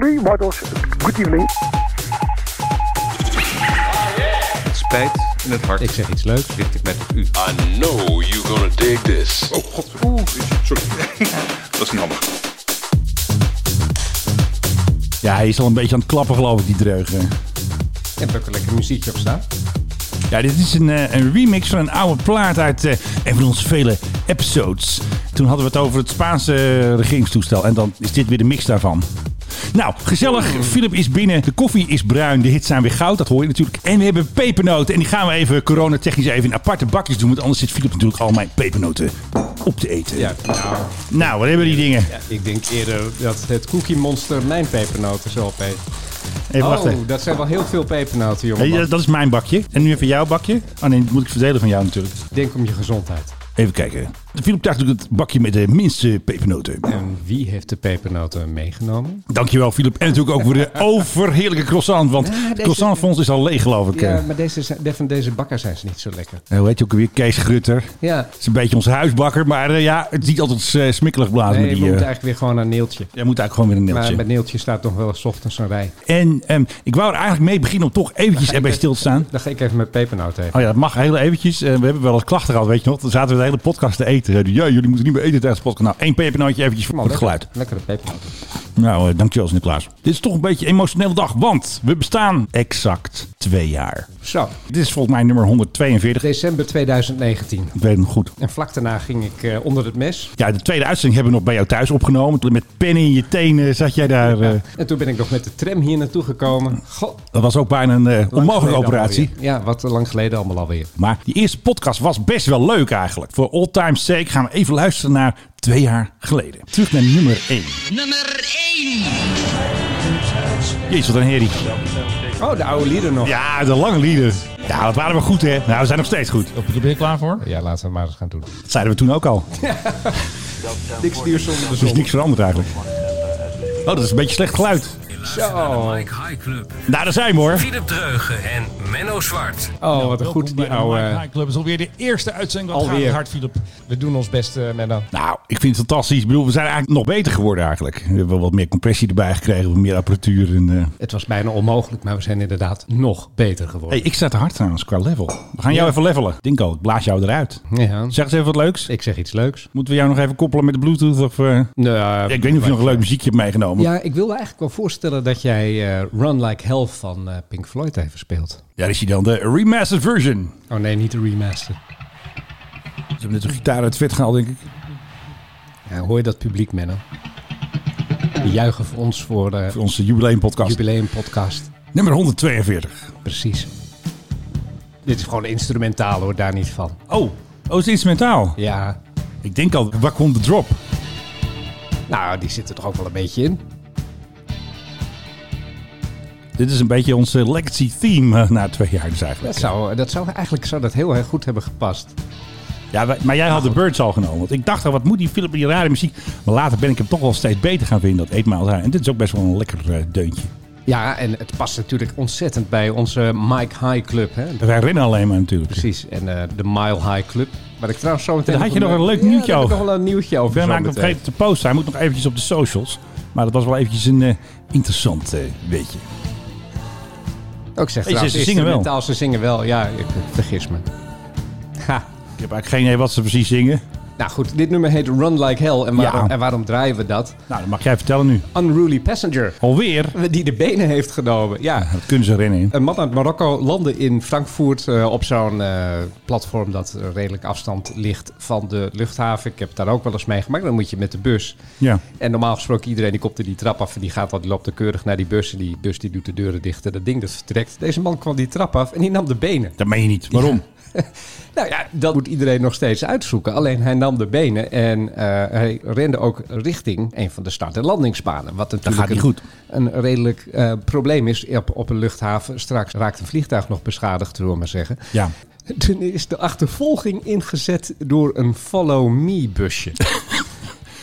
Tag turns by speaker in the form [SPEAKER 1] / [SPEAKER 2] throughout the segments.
[SPEAKER 1] three models. Good evening.
[SPEAKER 2] Spijt in het hart.
[SPEAKER 3] Ik zeg iets leuks.
[SPEAKER 2] Richt ik met u.
[SPEAKER 4] I know you're gonna dig this.
[SPEAKER 5] Oh god, oeh, sorry. dat is niet handig.
[SPEAKER 6] Ja, hij is al een beetje aan het klappen, geloof ik, die dreugen.
[SPEAKER 3] Ik heb ook een lekker muziekje op staan.
[SPEAKER 6] Ja, dit is een, eh, een remix van een oude plaat uit eh, een van onze vele episodes. Toen hadden we het over het Spaanse eh, regeringstoestel. En dan is dit weer de mix daarvan. Nou,
[SPEAKER 3] Hmm.
[SPEAKER 6] gezellig. Philip is binnen. De koffie is bruin. De hits zijn weer goud. Dat hoor je natuurlijk. En we hebben pepernoten. En die gaan we even coronatechnisch even in aparte bakjes doen. Want anders zit Philip natuurlijk al mijn pepernoten op te eten.
[SPEAKER 3] Ja, nou,
[SPEAKER 6] Nou, wat hebben die dingen?
[SPEAKER 3] ja, ik denk eerder dat het Cookie Monster mijn pepernoten zal opeten.
[SPEAKER 6] Even
[SPEAKER 3] oh,
[SPEAKER 6] wachten.
[SPEAKER 3] dat zijn wel heel veel pepernoten, jongen.
[SPEAKER 6] Hey, eh, dat- dat is mijn bakje. En nu even jouw bakje. Oh nee, dat moet ik verdelen van jou natuurlijk.
[SPEAKER 3] Denk om je gezondheid.
[SPEAKER 6] Even kijken. Philip krijgt natuurlijk het bakje met de minste pepernoten.
[SPEAKER 3] En wie heeft de pepernoten meegenomen?
[SPEAKER 6] Dankjewel, Philip. En natuurlijk ook voor de overheerlijke croissant. Want
[SPEAKER 3] Ja,
[SPEAKER 6] het
[SPEAKER 3] deze-
[SPEAKER 6] croissantfonds is al leeg, geloof ik.
[SPEAKER 3] Ja, maar deze, zijn- de- van deze bakker zijn ze niet zo lekker.
[SPEAKER 6] Eh, Hoe heet je ook weer? Kees Grutter. Het
[SPEAKER 3] Ja,
[SPEAKER 6] is een beetje onze huisbakker. Maar eh, ja, het ziet altijd eh, smikkelig
[SPEAKER 3] nee,
[SPEAKER 6] blazen. met
[SPEAKER 3] we
[SPEAKER 6] die, eh,
[SPEAKER 3] moeten eigenlijk weer gewoon naar Neeltje.
[SPEAKER 6] Jij moet eigenlijk gewoon weer een
[SPEAKER 3] Maar
[SPEAKER 6] mailtje.
[SPEAKER 3] met Neeltje staat nog wel eens ochtends een rij.
[SPEAKER 6] En ehm, ik wou er eigenlijk mee beginnen om toch eventjes erbij stil te staan.
[SPEAKER 3] Dan ga ik even met pepernoten eten.
[SPEAKER 6] Oh ja, dat mag heel eventjes. Eh, we hebben wel eens klachten gehad, weet je nog. Dan zaten we de hele podcast te eten. Zeiden, ja, jullie moeten niet meer eten tijdens de podcast. Nou, één pepernootje eventjes voor
[SPEAKER 3] Man,
[SPEAKER 6] het
[SPEAKER 3] lekker-
[SPEAKER 6] geluid.
[SPEAKER 3] Lekkere pepernoten.
[SPEAKER 6] Nou, eh, dankjewel, Sinterklaas. Dit is toch een beetje een emotionele dag, want we bestaan exact twee jaar.
[SPEAKER 3] Zo,
[SPEAKER 6] Dit is volgens mij nummer 142.
[SPEAKER 3] december 2019.
[SPEAKER 6] Ik weet hem goed.
[SPEAKER 3] En vlak daarna ging ik eh, onder het mes.
[SPEAKER 6] Ja, de tweede uitzending hebben we nog bij jou thuis opgenomen. Met pennen in je tenen zat jij daar. eh,
[SPEAKER 3] En toen ben ik nog met de tram hier naartoe gekomen. God,
[SPEAKER 6] dat was ook bijna een eh,
[SPEAKER 3] lang
[SPEAKER 6] onmogelijke
[SPEAKER 3] geleden
[SPEAKER 6] operatie.
[SPEAKER 3] alweer. Ja, wat lang geleden allemaal alweer.
[SPEAKER 6] Maar die eerste podcast was best wel leuk eigenlijk. Voor all time's sake gaan we even luisteren naar twee jaar geleden. Terug naar nummer 1.
[SPEAKER 7] Nummer 1.
[SPEAKER 6] Jezus, wat een herrie.
[SPEAKER 3] Oh, de oude lieden nog. Ja,
[SPEAKER 6] Ja, de lange lieden. Ja, dat waren we goed hè. Nou, we zijn nog steeds goed.
[SPEAKER 3] ben je klaar voor? Ja, laten we het maar eens gaan doen.
[SPEAKER 6] Dat zeiden we toen ook al.
[SPEAKER 3] Niks nieuws zonder de
[SPEAKER 6] Er is
[SPEAKER 3] zon.
[SPEAKER 6] niks veranderd eigenlijk. Oh, dat is een beetje slecht geluid.
[SPEAKER 3] Zo.
[SPEAKER 8] Mike High Club.
[SPEAKER 6] Nou, daar zijn we hoor.
[SPEAKER 8] Philip Dreugen en Menno Zwart.
[SPEAKER 3] Oh, wat een goed die oude...
[SPEAKER 6] Club is alweer de eerste uitzending.
[SPEAKER 3] Wat gaat het hard,
[SPEAKER 6] Philip.
[SPEAKER 3] We doen ons best, eh, Menno.
[SPEAKER 6] Nou, ik vind het fantastisch. Ik bedoel, we zijn eigenlijk nog beter geworden eigenlijk. We hebben wel wat meer compressie erbij gekregen, wat meer apparatuur. En, eh.
[SPEAKER 3] Het was bijna onmogelijk, maar we zijn inderdaad nog beter
[SPEAKER 6] hey,
[SPEAKER 3] geworden.
[SPEAKER 6] ik sta te hard trouwens qua level. We gaan jou even levelen. Dinko, ik blaas jou eruit.
[SPEAKER 3] Ja.
[SPEAKER 6] Zeg eens even wat leuks.
[SPEAKER 3] Ik zeg iets leuks.
[SPEAKER 6] Moeten we jou nog even koppelen met de bluetooth? Of, eh?
[SPEAKER 3] Nou,
[SPEAKER 6] Ik weet niet of je nog een leuk muziekje hebt meegenomen. Ja,
[SPEAKER 3] Ja, ik wilde eigenlijk wel voorstellen dat jij eh, Run Like Hell van eh, Pink Floyd heeft gespeeld.
[SPEAKER 6] daar is hij dan, de remastered version.
[SPEAKER 3] Oh nee, niet de remaster.
[SPEAKER 6] Ze hebben net een gitaar uit het vet gehaald, denk ik.
[SPEAKER 3] Ja, hoor je dat publiek, Menno? Die juichen voor ons voor de
[SPEAKER 6] Voor onze jubileumpodcast.
[SPEAKER 3] jubileumpodcast.
[SPEAKER 6] Nummer 142.
[SPEAKER 3] Precies. Dit is gewoon instrumentaal hoor, daar niet van.
[SPEAKER 6] Oh, oh is het instrumentaal?
[SPEAKER 3] Ja,
[SPEAKER 6] Ik denk al, waar komt de drop?
[SPEAKER 3] nou die zit er toch ook wel een beetje in.
[SPEAKER 6] Dit is een beetje ons eh, legacy theme eh, na twee jaar dus eigenlijk.
[SPEAKER 3] Dat zou, dat zou, eigenlijk zou dat heel erg goed hebben gepast.
[SPEAKER 6] Ja, wij- maar jij had de Birds al genomen. Want ik dacht al, wat moet die Philip met die rare muziek? Maar later ben ik hem toch wel steeds beter gaan vinden, dat Eetmaal zijn. En dit is ook best wel een lekker eh, deuntje.
[SPEAKER 3] Ja, en het past natuurlijk ontzettend bij onze Mike High Club. Hè?
[SPEAKER 6] Wij rennen alleen maar natuurlijk.
[SPEAKER 3] Precies, en eh, de Mile High Club. Maar ik trouwens zo meteen...
[SPEAKER 6] Daar had je nog een leuk
[SPEAKER 3] Ja,
[SPEAKER 6] nieuwtje
[SPEAKER 3] daar heb ik
[SPEAKER 6] over.
[SPEAKER 3] nog wel een nieuwtje
[SPEAKER 6] Ik
[SPEAKER 3] over.
[SPEAKER 6] ben
[SPEAKER 3] zo
[SPEAKER 6] eigenlijk nog
[SPEAKER 3] meteen.
[SPEAKER 6] vergeten te posten. Hij moet nog eventjes op de socials. Maar dat was wel eventjes een eh, interessant eh, weetje.
[SPEAKER 3] Ook zeg
[SPEAKER 6] Hey, ze-
[SPEAKER 3] trouwens,
[SPEAKER 6] ze zingen wel.
[SPEAKER 3] instrumentaal, Ze zingen wel, ja, ik ik vergis me. Ha.
[SPEAKER 6] Ik heb eigenlijk geen idee wat ze precies zingen.
[SPEAKER 3] Nou goed, dit nummer heet Run Like Hell. En waarom,
[SPEAKER 6] Ja.
[SPEAKER 3] en waarom draaien we dat?
[SPEAKER 6] Nou, dat mag jij vertellen nu.
[SPEAKER 3] Unruly Passenger,
[SPEAKER 6] Alweer.
[SPEAKER 3] die de benen heeft genomen. Ja,
[SPEAKER 6] Dat kunnen ze rennen in.
[SPEAKER 3] Een man Eh, uit Marokko landde in Frankfurt eh, op zo'n eh, platform dat eh, redelijk afstand ligt van de luchthaven. Ik heb het daar ook wel eens meegemaakt. Dan moet je met de bus.
[SPEAKER 6] Ja.
[SPEAKER 3] En normaal gesproken iedereen die komt er die trap af en die gaat dan, die loopt dan keurig naar die bus. En die bus die doet de deuren dicht en dat ding dat vertrekt. Deze man kwam die trap af en die nam de benen.
[SPEAKER 6] Dat meen je niet. Waarom?
[SPEAKER 3] Nou ja, dat moet iedereen nog steeds uitzoeken. Alleen hij nam de benen en eh, hij rende ook richting een van de start- en landingsbanen. Wat natuurlijk
[SPEAKER 6] gaat niet
[SPEAKER 3] een-
[SPEAKER 6] goed.
[SPEAKER 3] een redelijk eh, probleem is op, op een luchthaven. Straks raakt een vliegtuig nog beschadigd, zullen we maar zeggen.
[SPEAKER 6] Ja.
[SPEAKER 3] Toen is de achtervolging ingezet door een follow me busje.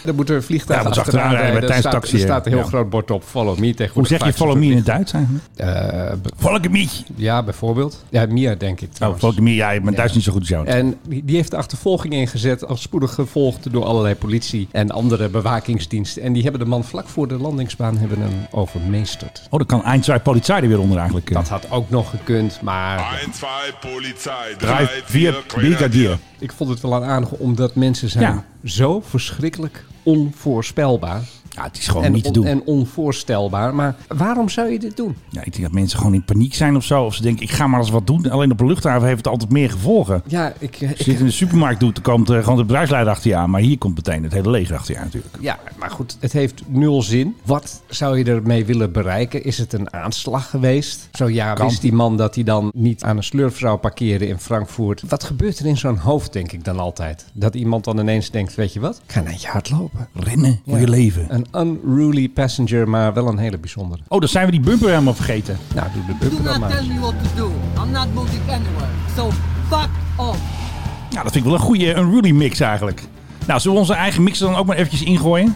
[SPEAKER 3] Dan moet er een vliegtuig
[SPEAKER 6] Ja, moet
[SPEAKER 3] achteraan
[SPEAKER 6] achteraan rijden
[SPEAKER 3] rijden.
[SPEAKER 6] bij
[SPEAKER 3] Er staat,
[SPEAKER 6] tijdens
[SPEAKER 3] er
[SPEAKER 6] taxiën.
[SPEAKER 3] staat een heel
[SPEAKER 6] Ja.
[SPEAKER 3] groot bord op. Follow me tegenwoordig.
[SPEAKER 6] Hoe zeg je
[SPEAKER 3] vaak zo
[SPEAKER 6] follow me in het Duits eigenlijk?
[SPEAKER 3] verplicht. Eh, be-
[SPEAKER 6] Follow me!
[SPEAKER 3] ja, bijvoorbeeld. Ja, Mia denk ik
[SPEAKER 6] Oh,
[SPEAKER 3] trouwens.
[SPEAKER 6] follow me. Ja, ik ben Duits niet zo goed als jou.
[SPEAKER 3] En die die heeft de achtervolging ingezet, als spoedig gevolgd door allerlei politie en andere bewakingsdiensten. En die hebben de man vlak voor de landingsbaan hebben hem overmeesterd.
[SPEAKER 6] Oh, dan kan Eindzwaai Polizei er weer onder eigenlijk. eh.
[SPEAKER 3] Dat had ook nog gekund, maar
[SPEAKER 7] 1, 2, Polizei.
[SPEAKER 6] Drei,
[SPEAKER 7] 3,
[SPEAKER 6] vier,
[SPEAKER 7] 4,
[SPEAKER 6] Brigadier.
[SPEAKER 3] ik vond het wel aan aardig omdat mensen zijn
[SPEAKER 6] Ja.
[SPEAKER 3] zo verschrikkelijk onvoorspelbaar.
[SPEAKER 6] Ja, het is gewoon
[SPEAKER 3] en,
[SPEAKER 6] niet te
[SPEAKER 3] on-
[SPEAKER 6] doen.
[SPEAKER 3] en onvoorstelbaar. Maar waarom zou je dit doen?
[SPEAKER 6] Ja, ik denk dat mensen gewoon in paniek zijn of zo. Of ze denken, ik ga maar eens wat doen. Alleen op een luchthaven heeft het altijd meer gevolgen.
[SPEAKER 3] Ja, ik,
[SPEAKER 6] Als je dit in de supermarkt doet, dan komt eh, gewoon de bedrijfsleider achter je aan. Maar hier komt meteen het hele leger achter je aan natuurlijk.
[SPEAKER 3] ja, maar goed, het heeft nul zin. Wat zou je ermee willen bereiken? Is het een aanslag geweest? Zo ja,
[SPEAKER 6] Kan.
[SPEAKER 3] wist die man dat hij dan niet aan een slurf zou parkeren in Frankfurt? Wat gebeurt er in zo'n hoofd, denk ik dan altijd? Dat iemand dan ineens denkt, weet je wat? Ik ga naar je hart lopen.
[SPEAKER 6] Rennen voor je leven.
[SPEAKER 3] Een unruly passenger, maar wel een hele bijzondere.
[SPEAKER 6] Oh, dan zijn we die bumper helemaal vergeten.
[SPEAKER 3] Nou, doe de
[SPEAKER 9] Do
[SPEAKER 3] bumper dan
[SPEAKER 9] not tell
[SPEAKER 3] maar.
[SPEAKER 9] me what to do. I'm not moving anywhere. So fuck off.
[SPEAKER 6] Ja, Nou, dat vind ik wel een goede unruly mix eigenlijk. Nou, zullen we onze eigen mix er dan ook maar eventjes ingooien?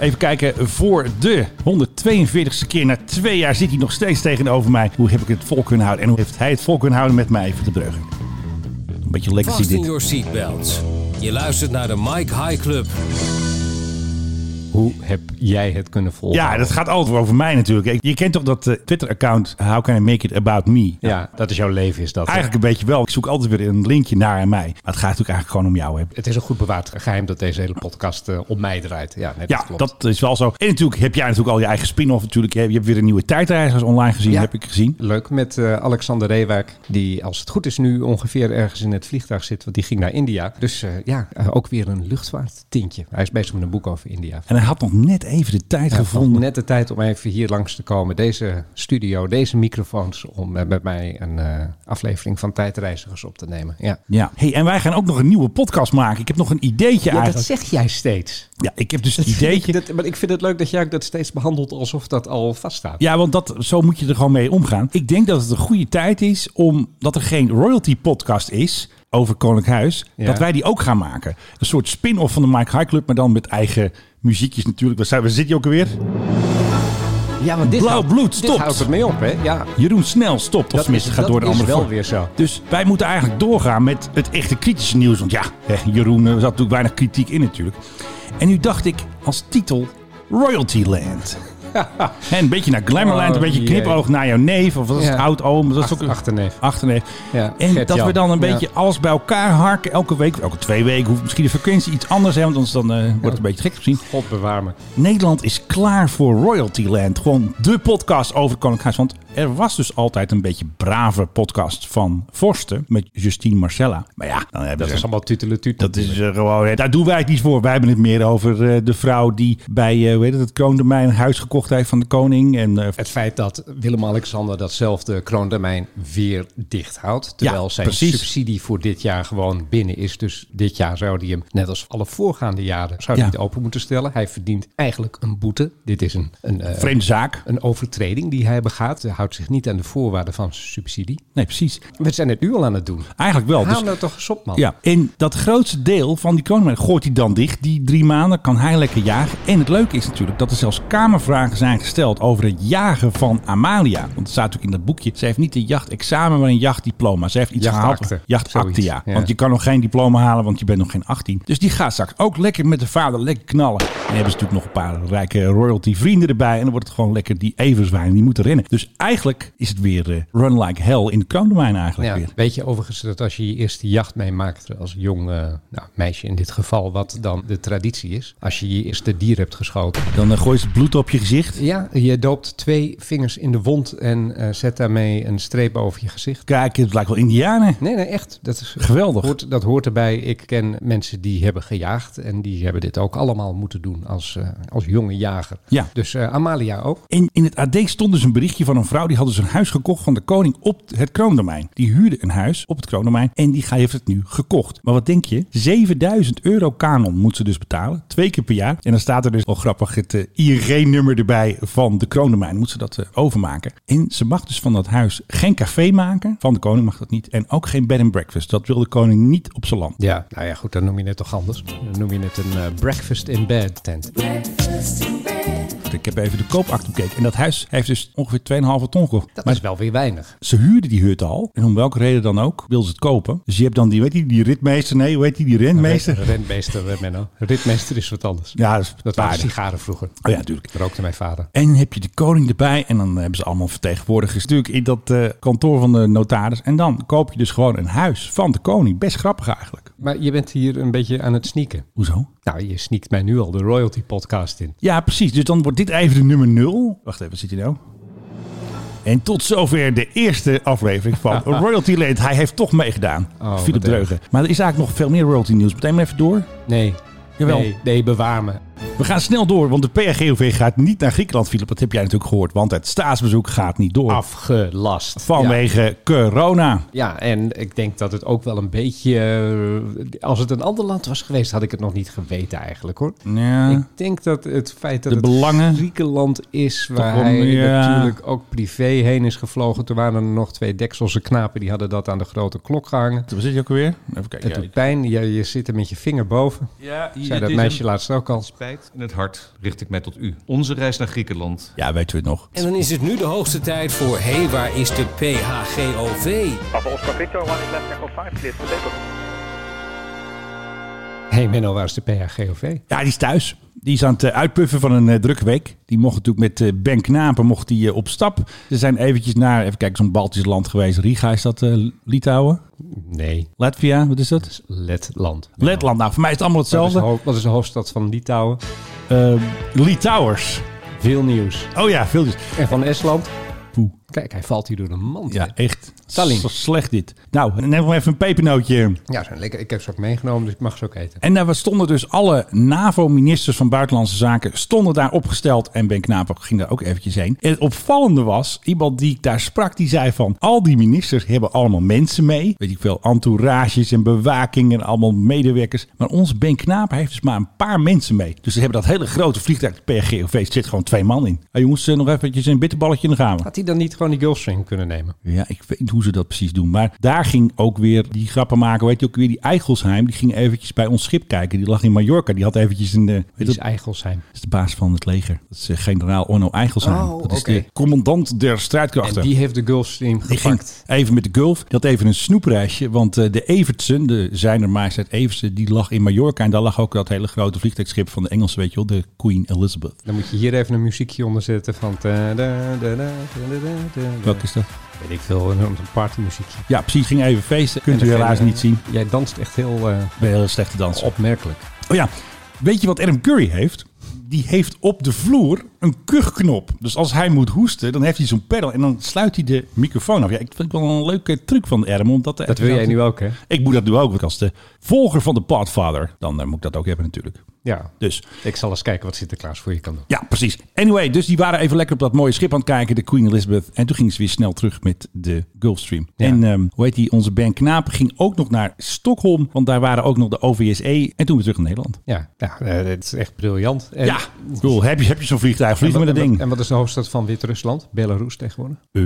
[SPEAKER 6] Even kijken, voor de 142ste keer na twee jaar zit hij nog steeds tegenover mij. Hoe heb ik het vol kunnen houden? En hoe heeft hij het vol kunnen houden met mij, Even de Breugen? Een beetje legacy
[SPEAKER 8] Fasten
[SPEAKER 6] dit.
[SPEAKER 8] your seatbelts. Je luistert naar de Mike High Club.
[SPEAKER 3] Hoe heb jij het kunnen volgen?
[SPEAKER 6] Ja, dat gaat altijd over mij natuurlijk. Je kent toch dat eh, Twitter-account How Can I Make It About Me?
[SPEAKER 3] ja, dat is jouw leven, is dat. hè?
[SPEAKER 6] Eigenlijk een beetje wel. Ik zoek altijd weer een linkje naar mij. Maar het gaat natuurlijk eigenlijk gewoon om jou. Hè?
[SPEAKER 3] Het is een goed bewaard geheim dat deze hele podcast eh, op mij draait. Ja, nee, dat
[SPEAKER 6] Ja,
[SPEAKER 3] klopt.
[SPEAKER 6] dat is wel zo. En natuurlijk heb jij natuurlijk al je eigen spin-off natuurlijk. Je hebt- je hebt weer een nieuwe tijdreizigers online gezien,
[SPEAKER 3] Ja.
[SPEAKER 6] heb ik gezien.
[SPEAKER 3] Leuk met eh, Alexander Reewijk, die als het goed is nu ongeveer ergens in het vliegtuig zit, want die ging naar India. Dus eh, ja, eh, ook weer een luchtvaarttintje. Hij is bezig met een boek over India.
[SPEAKER 6] En hij had nog net even de tijd
[SPEAKER 3] Hij had
[SPEAKER 6] gevonden.
[SPEAKER 3] net de tijd om even hier langs te komen, deze studio, deze microfoons, om eh, met mij een eh, aflevering van Tijdreizigers op te nemen. Ja.
[SPEAKER 6] Ja. Hey, en wij gaan ook nog een nieuwe podcast maken. Ik heb nog een ideetje
[SPEAKER 3] Ja, dat
[SPEAKER 6] eigenlijk.
[SPEAKER 3] zeg jij steeds.
[SPEAKER 6] Ja, ik heb dus het ideetje.
[SPEAKER 3] Dat, maar ik vind het leuk dat jij ook dat steeds behandelt alsof dat al vaststaat.
[SPEAKER 6] Ja, want dat, zo moet je er gewoon mee omgaan. Ik denk dat het een goede tijd is omdat er geen royalty podcast is over Koninklijk Huis.
[SPEAKER 3] Ja.
[SPEAKER 6] Dat wij die ook gaan maken. Een soort spin-off van de Mike High Club, maar dan met eigen muziekjes natuurlijk. Waar zijn- waar zit je ook alweer?
[SPEAKER 3] Ja, want dit
[SPEAKER 6] Blauw
[SPEAKER 3] houdt-
[SPEAKER 6] bloed,
[SPEAKER 3] Dit
[SPEAKER 6] stopt.
[SPEAKER 3] houdt het mee op, hè? Ja.
[SPEAKER 6] Jeroen Snel stopt. Of
[SPEAKER 3] Dat
[SPEAKER 6] tenminste,
[SPEAKER 3] is-
[SPEAKER 6] gaat
[SPEAKER 3] dat
[SPEAKER 6] door de
[SPEAKER 3] is
[SPEAKER 6] andere
[SPEAKER 3] wel
[SPEAKER 6] vorm.
[SPEAKER 3] weer zo.
[SPEAKER 6] Dus wij moeten eigenlijk doorgaan met het echte kritische nieuws. Want ja, hè, Jeroen, er zat natuurlijk weinig kritiek in natuurlijk. En nu dacht ik als titel Royalty Land. Hè, een beetje naar Glamourland, een
[SPEAKER 3] Oh,
[SPEAKER 6] beetje
[SPEAKER 3] jee.
[SPEAKER 6] knipoog naar jouw neef. Of wat is
[SPEAKER 3] Ja.
[SPEAKER 6] het, oud-oom? Dat is
[SPEAKER 3] Acht-
[SPEAKER 6] ook een-
[SPEAKER 3] achterneef.
[SPEAKER 6] Achterneef.
[SPEAKER 3] Ja,
[SPEAKER 6] en
[SPEAKER 3] Gert-Jan.
[SPEAKER 6] dat we dan een
[SPEAKER 3] Ja.
[SPEAKER 6] beetje alles bij elkaar harken elke week. Elke twee weken hoeft misschien de frequentie iets anders. Hè, want anders dan, eh, wordt het een beetje gek gezien.
[SPEAKER 3] God bewaar me.
[SPEAKER 6] Nederland is klaar voor Royalty Land. Gewoon de podcast over Koninklijk Huis. Want er was dus altijd een beetje brave podcast van Vorsten met Justine Marcella. Maar ja, dan hebben
[SPEAKER 3] Dat
[SPEAKER 6] ze...
[SPEAKER 3] is allemaal tutelen tutelen.
[SPEAKER 6] dat is eh, gewoon, eh, daar doen wij het niet voor. Wij hebben het meer over eh, de vrouw die bij eh, hoe heet het, het kroondomein een huis gekocht heeft van de koning. En eh,
[SPEAKER 3] Het feit dat Willem-Alexander datzelfde kroondomein weer dicht houdt. Terwijl
[SPEAKER 6] Ja,
[SPEAKER 3] zijn
[SPEAKER 6] precies.
[SPEAKER 3] subsidie voor dit jaar gewoon binnen is. Dus dit jaar zou hij hem, net als alle voorgaande jaren, zou hij
[SPEAKER 6] Ja.
[SPEAKER 3] het open moeten stellen. Hij verdient eigenlijk een boete. Dit is een, een, eh,
[SPEAKER 6] vreemde zaak.
[SPEAKER 3] een overtreding die hij begaat. Hij houdt zich niet aan de voorwaarden van zijn subsidie.
[SPEAKER 6] Nee, precies.
[SPEAKER 3] We zijn het nu al aan het doen.
[SPEAKER 6] Eigenlijk wel.
[SPEAKER 3] Haal
[SPEAKER 6] Dus
[SPEAKER 3] nou toch eens op, man.
[SPEAKER 6] Ja, en dat grootste deel van die koning gooit hij dan dicht. Die drie maanden kan hij lekker jagen. En het leuke is natuurlijk dat er zelfs kamervragen zijn gesteld over het jagen van Amalia. Want het staat natuurlijk in dat boekje. Ze heeft niet een jachtexamen, maar een jachtdiploma. Ze heeft iets
[SPEAKER 3] Jachtakte.
[SPEAKER 6] gehaald. Jachtakte,
[SPEAKER 3] Zoiets,
[SPEAKER 6] ja.
[SPEAKER 3] ja.
[SPEAKER 6] Want je kan nog geen diploma halen, want je bent nog geen 18. Dus die gaat straks ook lekker met de vader lekker knallen. En hebben ze natuurlijk nog een paar rijke royalty vrienden erbij. En dan wordt het gewoon lekker die everzwijnen die moeten rennen. Dus eigenlijk is het weer eh, run like hell in de kroondomein eigenlijk
[SPEAKER 3] Ja,
[SPEAKER 6] weer.
[SPEAKER 3] weet je overigens dat als je je eerste jacht meemaakt als jong eh, nou, meisje in dit geval, wat dan de traditie is, als je je eerste dier hebt geschoten.
[SPEAKER 6] Dan eh, gooit ze het bloed op je gezicht.
[SPEAKER 3] Ja, je doopt twee vingers in de wond en eh, zet daarmee een streep over je gezicht.
[SPEAKER 6] Kijk, het lijkt wel Indianen.
[SPEAKER 3] Nee, nee, echt. Dat is
[SPEAKER 6] Geweldig.
[SPEAKER 3] Hoort, dat hoort erbij. Ik ken mensen die hebben gejaagd en die hebben dit ook allemaal moeten doen als, eh, als jonge jager.
[SPEAKER 6] Ja.
[SPEAKER 3] Dus eh, Amalia ook.
[SPEAKER 6] En in het AD stond dus een berichtje van een vrouw vrouw die hadden dus een huis gekocht van de koning op het kroondomein. Die huurde een huis op het kroondomein en die ga- heeft het nu gekocht. Maar wat denk je? 7000 euro kanon moet ze dus betalen. Twee keer per jaar. En dan staat er dus al grappig het eh, ING-nummer erbij van de kroondomein. Moet ze dat eh, overmaken. En ze mag dus van dat huis geen café maken. Van de koning mag dat niet. En ook geen bed and breakfast. Dat wil de koning niet op zijn land.
[SPEAKER 3] Ja, nou ja, goed, dan noem je het toch anders. Dan noem je het een eh, breakfast in bed tent.
[SPEAKER 6] Ik heb even de koopakte bekeken. En dat huis heeft dus ongeveer 2,5 ton gekocht.
[SPEAKER 3] Dat
[SPEAKER 6] Maar
[SPEAKER 3] is wel weer weinig.
[SPEAKER 6] Ze huurden die hut al. En om welke reden dan ook, wil ze het kopen. Dus je hebt dan die, weet je, die ritmeester, nee, hoe heet die, die rentmeester.
[SPEAKER 3] Rentmeester, eh, Menno. Ritmeester is wat anders.
[SPEAKER 6] Ja, dat is
[SPEAKER 3] Dat waren
[SPEAKER 6] paarden.
[SPEAKER 3] sigaren vroeger.
[SPEAKER 6] Oh ja, natuurlijk.
[SPEAKER 3] Rookte mijn vader.
[SPEAKER 6] En dan heb je de koning erbij. En dan hebben ze allemaal vertegenwoordigers natuurlijk in dat eh, kantoor van de notaris. En dan koop je dus gewoon een huis van de koning. Best grappig eigenlijk.
[SPEAKER 3] Maar je bent hier een beetje aan het sneaken.
[SPEAKER 6] Hoezo?
[SPEAKER 3] Nou, je sneakt mij nu al de royalty podcast in.
[SPEAKER 6] Ja, precies. Dus dan wordt dit even de nummer 0. Wacht even, zit hij nou? En tot zover de eerste aflevering van Royalty Land. Hij heeft toch meegedaan,
[SPEAKER 3] Oh,
[SPEAKER 6] Philip
[SPEAKER 3] wat
[SPEAKER 6] Dreugen. Maar er is eigenlijk nog veel meer royalty nieuws. Meteen maar even door.
[SPEAKER 3] Nee.
[SPEAKER 6] Jawel. Oh.
[SPEAKER 3] Nee, nee, bewaar me.
[SPEAKER 6] We gaan snel door, want de PRGOV gaat niet naar Griekenland, Philip. Dat heb jij natuurlijk gehoord, want het staatsbezoek gaat niet door.
[SPEAKER 3] Afgelast.
[SPEAKER 6] Vanwege corona.
[SPEAKER 3] Ja, en ik denk dat het ook wel een beetje... eh, Als het een ander land was geweest, had ik het nog niet geweten eigenlijk, hoor.
[SPEAKER 6] Ja.
[SPEAKER 3] Ik denk dat het feit dat
[SPEAKER 6] De belangen.
[SPEAKER 3] het Griekenland is, waar
[SPEAKER 6] wel
[SPEAKER 3] hij
[SPEAKER 6] meer, ja.
[SPEAKER 3] natuurlijk ook privé heen is gevlogen. Toen waren er nog twee dekselse knapen, die hadden dat aan de grote klok gehangen.
[SPEAKER 6] Waar zit je ook alweer? Even
[SPEAKER 3] Het
[SPEAKER 6] kijken.
[SPEAKER 3] doet pijn, je, je zit er met je vinger boven.
[SPEAKER 2] Ja, hier,
[SPEAKER 3] Zei dat meisje laatst ook al.
[SPEAKER 2] Spijt in het hart richt ik mij tot u. Onze reis naar Griekenland.
[SPEAKER 6] Ja, weten we het nog.
[SPEAKER 8] En dan is het nu de hoogste tijd voor Hé, hey, waar is de PHGOV?
[SPEAKER 1] Papa Oscar Victor, one is left echo 5, clear for label.
[SPEAKER 3] hey Menno, waar is de PHGOV?
[SPEAKER 6] Ja, die is thuis. Die is aan het eh, uitpuffen van een eh, drukke week. Die mocht natuurlijk met eh Ben Knapen mocht die, eh, op stap. Ze zijn eventjes naar, even kijken, zo'n Baltisch land geweest. Riga is dat, eh, Litouwen?
[SPEAKER 3] Nee,
[SPEAKER 6] Latvia, wat is dat?
[SPEAKER 3] dat is Letland.
[SPEAKER 6] Letland. Nou, voor mij is het allemaal
[SPEAKER 3] Wat is, de
[SPEAKER 6] hetzelfde.
[SPEAKER 3] ho- wat is de hoofdstad van Litouwen?
[SPEAKER 6] Eh, Litouwers.
[SPEAKER 3] Veel nieuws.
[SPEAKER 6] Oh ja, veel dus.
[SPEAKER 3] En van Estland?
[SPEAKER 6] Poeh.
[SPEAKER 3] Kijk, hij valt hier door de mand. hè.
[SPEAKER 6] Ja, echt.
[SPEAKER 3] Tallinn.
[SPEAKER 6] S- Slecht dit. Nou, neem maar even een pepernootje.
[SPEAKER 3] ja zijn lekker. ik heb ze ook meegenomen, dus ik mag ze ook eten.
[SPEAKER 6] En daar stonden dus alle NAVO-ministers van Buitenlandse Zaken stonden daar opgesteld. En Ben Knapen ging daar ook eventjes heen. En het opvallende was, iemand die ik daar sprak, die zei van... al die ministers hebben allemaal mensen mee. Weet ik veel, entourages en bewaking en allemaal medewerkers. Maar onze Ben Knapen heeft dus maar een paar mensen mee. Dus ze hebben dat hele grote vliegtuig, de PRGOV, zit gewoon twee man in. Hey jongens, eh, nog eventjes een bitterballetje in de gaan we.
[SPEAKER 3] Had hij dan niet gewoon die Gulfstream kunnen nemen?
[SPEAKER 6] Ja, ik weet niet hoe ze dat precies doen. Maar daar ging ook weer die grappen maken. Weet je ook weer die Eigelsheim. Die ging eventjes bij ons schip kijken. Die lag in Mallorca. Die had eventjes een... eh, Weet
[SPEAKER 3] Die is
[SPEAKER 6] dat,
[SPEAKER 3] Eigelsheim.
[SPEAKER 6] dat is de baas van het leger. Dat is eh, generaal Orno Eigelsheim.
[SPEAKER 3] Oh,
[SPEAKER 6] dat is
[SPEAKER 3] oké.
[SPEAKER 6] de commandant der strijdkrachten.
[SPEAKER 3] En die heeft de Gulfstream
[SPEAKER 6] Die ging
[SPEAKER 3] gepakt.
[SPEAKER 6] even met de Gulf. Die had even een snoepreisje. Want eh, de Evertsen, de zijner majesteit Evertsen, die lag in Mallorca. En daar lag ook dat hele grote vliegtuigschip van de Engelsen, weet je wel. De Queen Elizabeth.
[SPEAKER 3] Dan moet je hier even een muziekje onder zetten van... ta- da- da- da- da- da- da- da.
[SPEAKER 6] Welke is dat?
[SPEAKER 3] Weet ik veel, een een partymuziekje.
[SPEAKER 6] Ja, precies. Ging even feesten. Kunt u
[SPEAKER 3] En
[SPEAKER 6] helaas
[SPEAKER 3] degene-
[SPEAKER 6] niet zien.
[SPEAKER 3] Jij danst echt heel eh,
[SPEAKER 6] Ik ben een hele slechte danser.
[SPEAKER 3] opmerkelijk.
[SPEAKER 6] Oh ja, weet je wat Adam Curry heeft? Die heeft op de vloer een kuchknop. Dus als hij moet hoesten, dan heeft hij zo'n pedal en dan sluit hij de microfoon af. Ja, ik vind het wel een leuke truc van Adam. Omdat
[SPEAKER 3] Dat wil jij nu ook, hè?
[SPEAKER 6] Ik moet dat nu ook, want als de volger van de Podfather, dan eh, moet ik dat ook hebben natuurlijk.
[SPEAKER 3] Ja.
[SPEAKER 6] Dus
[SPEAKER 3] Ik zal eens kijken wat Sinterklaas voor je kan doen.
[SPEAKER 6] ja, precies. Anyway, dus die waren even lekker op dat mooie schip aan het kijken, de Queen Elizabeth. En toen gingen ze weer snel terug met de Gulfstream.
[SPEAKER 3] Ja.
[SPEAKER 6] En ehm, hoe heet die, onze Ben Knaap ging ook nog naar Stockholm, want daar waren ook nog de OVSE. E En toen weer terug naar Nederland.
[SPEAKER 3] Ja, ja eh, het is echt briljant. En-
[SPEAKER 6] Ja, ik bedoel, heb je, heb je zo'n vliegtuig?
[SPEAKER 3] En
[SPEAKER 6] Vlieg
[SPEAKER 3] wat,
[SPEAKER 6] met dat
[SPEAKER 3] en wat-
[SPEAKER 6] ding.
[SPEAKER 3] en wat is de hoofdstad van Wit-Rusland? Belarus tegenwoordig?
[SPEAKER 6] Eh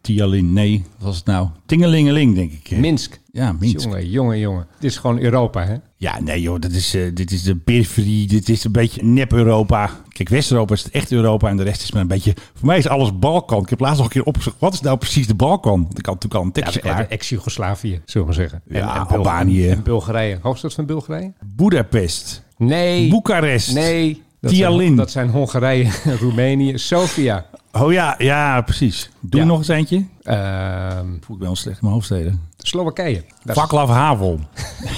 [SPEAKER 6] Tialin, nee. Wat was het nou? Tingelingeling, denk ik. hè?
[SPEAKER 3] Minsk.
[SPEAKER 6] Ja, Minsk.
[SPEAKER 3] Jongen, jongen, jongen. Het is gewoon Europa, hè?
[SPEAKER 6] Ja, nee joh, dat is, eh, dit is de periferie, dit is een beetje nep-Europa. Kijk, West-Europa is het echt Europa en de rest is maar een beetje... Voor mij is alles Balkan. Ik heb laatst nog een keer opgezocht, wat is nou precies de Balkan? Want ik had natuurlijk al een tekstje
[SPEAKER 3] Ja,
[SPEAKER 6] klaar.
[SPEAKER 3] de ex-Jugoslavië, zullen we maar zeggen.
[SPEAKER 6] Ja,
[SPEAKER 3] Bulgar-
[SPEAKER 6] Albanië.
[SPEAKER 3] En Bulgarije. Hoofdstad van Bulgarije?
[SPEAKER 6] Boedapest,
[SPEAKER 3] Nee.
[SPEAKER 6] Boekarest.
[SPEAKER 3] Nee. Dat
[SPEAKER 6] Tialin.
[SPEAKER 3] Zijn, dat zijn Hongarije, Roemenië, Sofia.
[SPEAKER 6] Oh ja, ja, precies. Doe
[SPEAKER 3] Ja.
[SPEAKER 6] nog eens eentje.
[SPEAKER 3] Ehm,
[SPEAKER 6] Voel ik wel slecht in mijn hoofdsteden.
[SPEAKER 3] Slowakije. Daar
[SPEAKER 6] Vaclav Havel.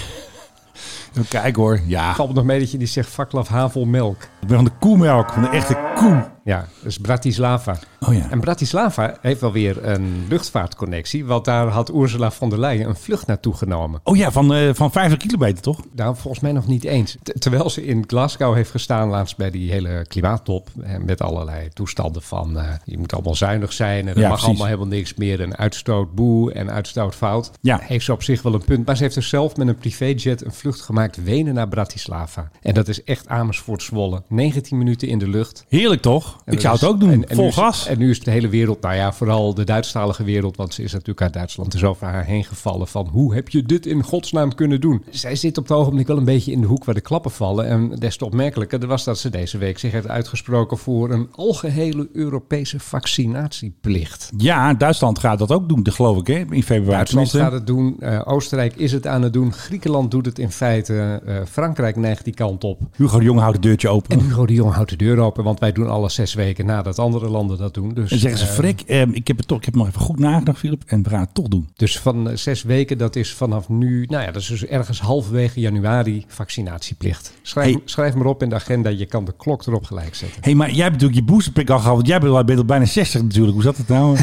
[SPEAKER 6] Even kijken hoor. Ja,
[SPEAKER 3] valt me nog mee dat je die zegt Vaklav Havelmelk.
[SPEAKER 6] ik ben van de koemelk, van de echte koe.
[SPEAKER 3] Ja, dat is Bratislava.
[SPEAKER 6] Oh Oh ja.
[SPEAKER 3] En Bratislava heeft wel weer een luchtvaartconnectie, want daar had Ursula von der Leyen een vlucht naartoe genomen.
[SPEAKER 6] Oh ja, van, eh, van 50 kilometer toch?
[SPEAKER 3] Nou, volgens mij nog niet eens. T- terwijl ze in Glasgow heeft gestaan laatst bij die hele klimaattop. eh, Met allerlei toestanden van eh, je moet allemaal zuinig zijn. En er
[SPEAKER 6] Ja,
[SPEAKER 3] mag
[SPEAKER 6] precies.
[SPEAKER 3] allemaal helemaal niks meer. En uitstoot boe en uitstoot fout.
[SPEAKER 6] Ja.
[SPEAKER 3] Heeft ze op zich wel een punt. Maar ze heeft er zelf met een privéjet een vlucht gemaakt. Wenen naar Bratislava. En dat is echt Amersfoort Zwolle. 19 minuten in de lucht.
[SPEAKER 6] Heerlijk toch?
[SPEAKER 3] En
[SPEAKER 6] ik
[SPEAKER 3] dat
[SPEAKER 6] zou
[SPEAKER 3] is-
[SPEAKER 6] het ook doen.
[SPEAKER 3] en- en nu
[SPEAKER 6] Vol
[SPEAKER 3] is-
[SPEAKER 6] gas.
[SPEAKER 3] En nu is de hele wereld, nou ja, vooral de Duitsstalige wereld, want ze is natuurlijk uit Duitsland, is over haar heen gevallen van hoe heb je dit in godsnaam kunnen doen? Zij zit op het ogenblik wel een beetje in de hoek waar de klappen vallen. En des te opmerkelijker was dat ze deze week zich heeft uitgesproken voor een algehele Europese vaccinatieplicht.
[SPEAKER 6] ja, Duitsland gaat dat ook doen, dat geloof ik, hè? in februari.
[SPEAKER 3] Duitsland
[SPEAKER 6] tenminste.
[SPEAKER 3] gaat het doen, eh, Oostenrijk is het aan het doen, Griekenland doet het in feite, eh, Frankrijk neigt die kant op.
[SPEAKER 6] Hugo de Jong houdt het deurtje open.
[SPEAKER 3] En
[SPEAKER 6] En,
[SPEAKER 3] Hugo de Jong houdt de deur open, want wij doen alle zes weken nadat andere landen dat doen. Dus,
[SPEAKER 6] zeggen ze,
[SPEAKER 3] eh,
[SPEAKER 6] Frik, ehm, ik heb het toch, ik heb nog even goed nagedacht, Philip, en we gaan het toch doen.
[SPEAKER 3] Dus van eh, zes weken, dat is vanaf nu, nou ja, dat is dus ergens halverwege januari vaccinatieplicht. Schrijf,
[SPEAKER 6] Hey.
[SPEAKER 3] schrijf maar op in de agenda, je kan de klok erop gelijk zetten.
[SPEAKER 6] Hé, hey, maar jij hebt natuurlijk je boosterpik al gehad, want jij bent al, bent al bijna 60 natuurlijk. Hoe zat het nou?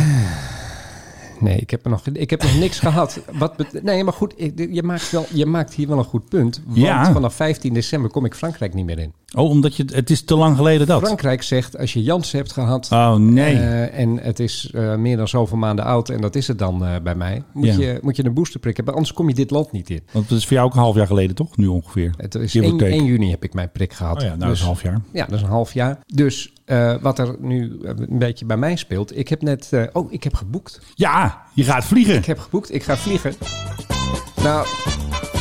[SPEAKER 3] Nee, ik heb, er nog, ik heb nog niks gehad. Wat bet- nee, maar goed, ik- je maakt, wel, je maakt hier wel een goed punt. Want
[SPEAKER 6] Ja.
[SPEAKER 3] vanaf 15 december kom ik Frankrijk niet meer in.
[SPEAKER 6] Oh, omdat je, het is te lang geleden dat.
[SPEAKER 3] Frankrijk zegt, als je Jans hebt gehad...
[SPEAKER 6] Oh nee.
[SPEAKER 3] eh, en het is eh, meer dan zoveel maanden oud en dat is het dan eh, bij mij. Moet,
[SPEAKER 6] Ja.
[SPEAKER 3] je, moet je een boosterprik hebben, anders kom je dit land niet in.
[SPEAKER 6] Want het is voor jou ook een half jaar geleden, toch? Nu ongeveer.
[SPEAKER 3] Het is
[SPEAKER 6] Je
[SPEAKER 3] 1,
[SPEAKER 6] hebt een keuk.
[SPEAKER 3] juni heb ik mijn prik gehad.
[SPEAKER 6] Oh ja, nou dat is
[SPEAKER 3] Dus-
[SPEAKER 6] een half jaar.
[SPEAKER 3] Ja, dat is een half jaar. Dus eh, wat er nu eh, een beetje bij mij speelt. Ik heb net. eh, oh, ik heb geboekt.
[SPEAKER 6] Ja, je gaat vliegen.
[SPEAKER 3] Ik heb geboekt. Ik ga vliegen. Nou,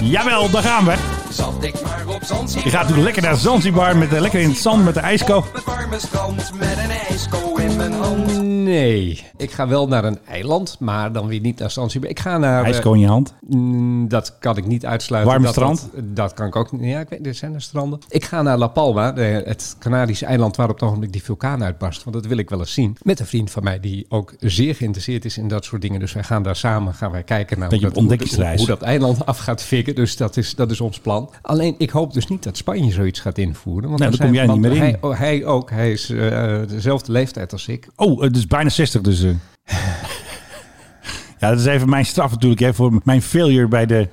[SPEAKER 6] Jawel, daar gaan we.
[SPEAKER 7] Zat ik maar op Zanzibar.
[SPEAKER 6] Je gaat natuurlijk lekker naar Zanzibar, met, eh, lekker in het zand met de ijsko.
[SPEAKER 7] Op het warme strand met een ijsko in mijn hand.
[SPEAKER 3] nee. Ik ga wel naar een eiland, maar dan weer niet naar Zanzibar. Ik ga naar. eh,
[SPEAKER 6] Ijsko in je hand.
[SPEAKER 3] mm, dat kan ik niet uitsluiten.
[SPEAKER 6] Warme
[SPEAKER 3] dat,
[SPEAKER 6] strand?
[SPEAKER 3] Dat, dat kan ik ook niet. Ja, ik weet, er zijn er stranden. Ik ga naar La Palma, de- het Canarische eiland waar op het ogenblik die vulkaan uitbarst. Want dat wil ik wel eens zien. Met een vriend van mij die ook zeer geïnteresseerd is in dat soort dingen. Dus wij gaan daar samen gaan wij kijken naar
[SPEAKER 6] Beetje
[SPEAKER 3] hoe
[SPEAKER 6] op
[SPEAKER 3] dat- hoe dat,
[SPEAKER 6] ontdekkingsreis.
[SPEAKER 3] hoe dat eiland af gaat fikken. Dus dat is, dat is ons plan. Alleen ik hoop dus niet dat Spanje zoiets gaat invoeren. Want
[SPEAKER 6] Nou, dan kom jij
[SPEAKER 3] want
[SPEAKER 6] niet meer in.
[SPEAKER 3] Hij, oh, hij ook. Hij is eh, dezelfde leeftijd als ik.
[SPEAKER 6] Oh, het is bijna 60 dus. eh. ja, dat is even mijn straf natuurlijk hè, voor mijn failure bij de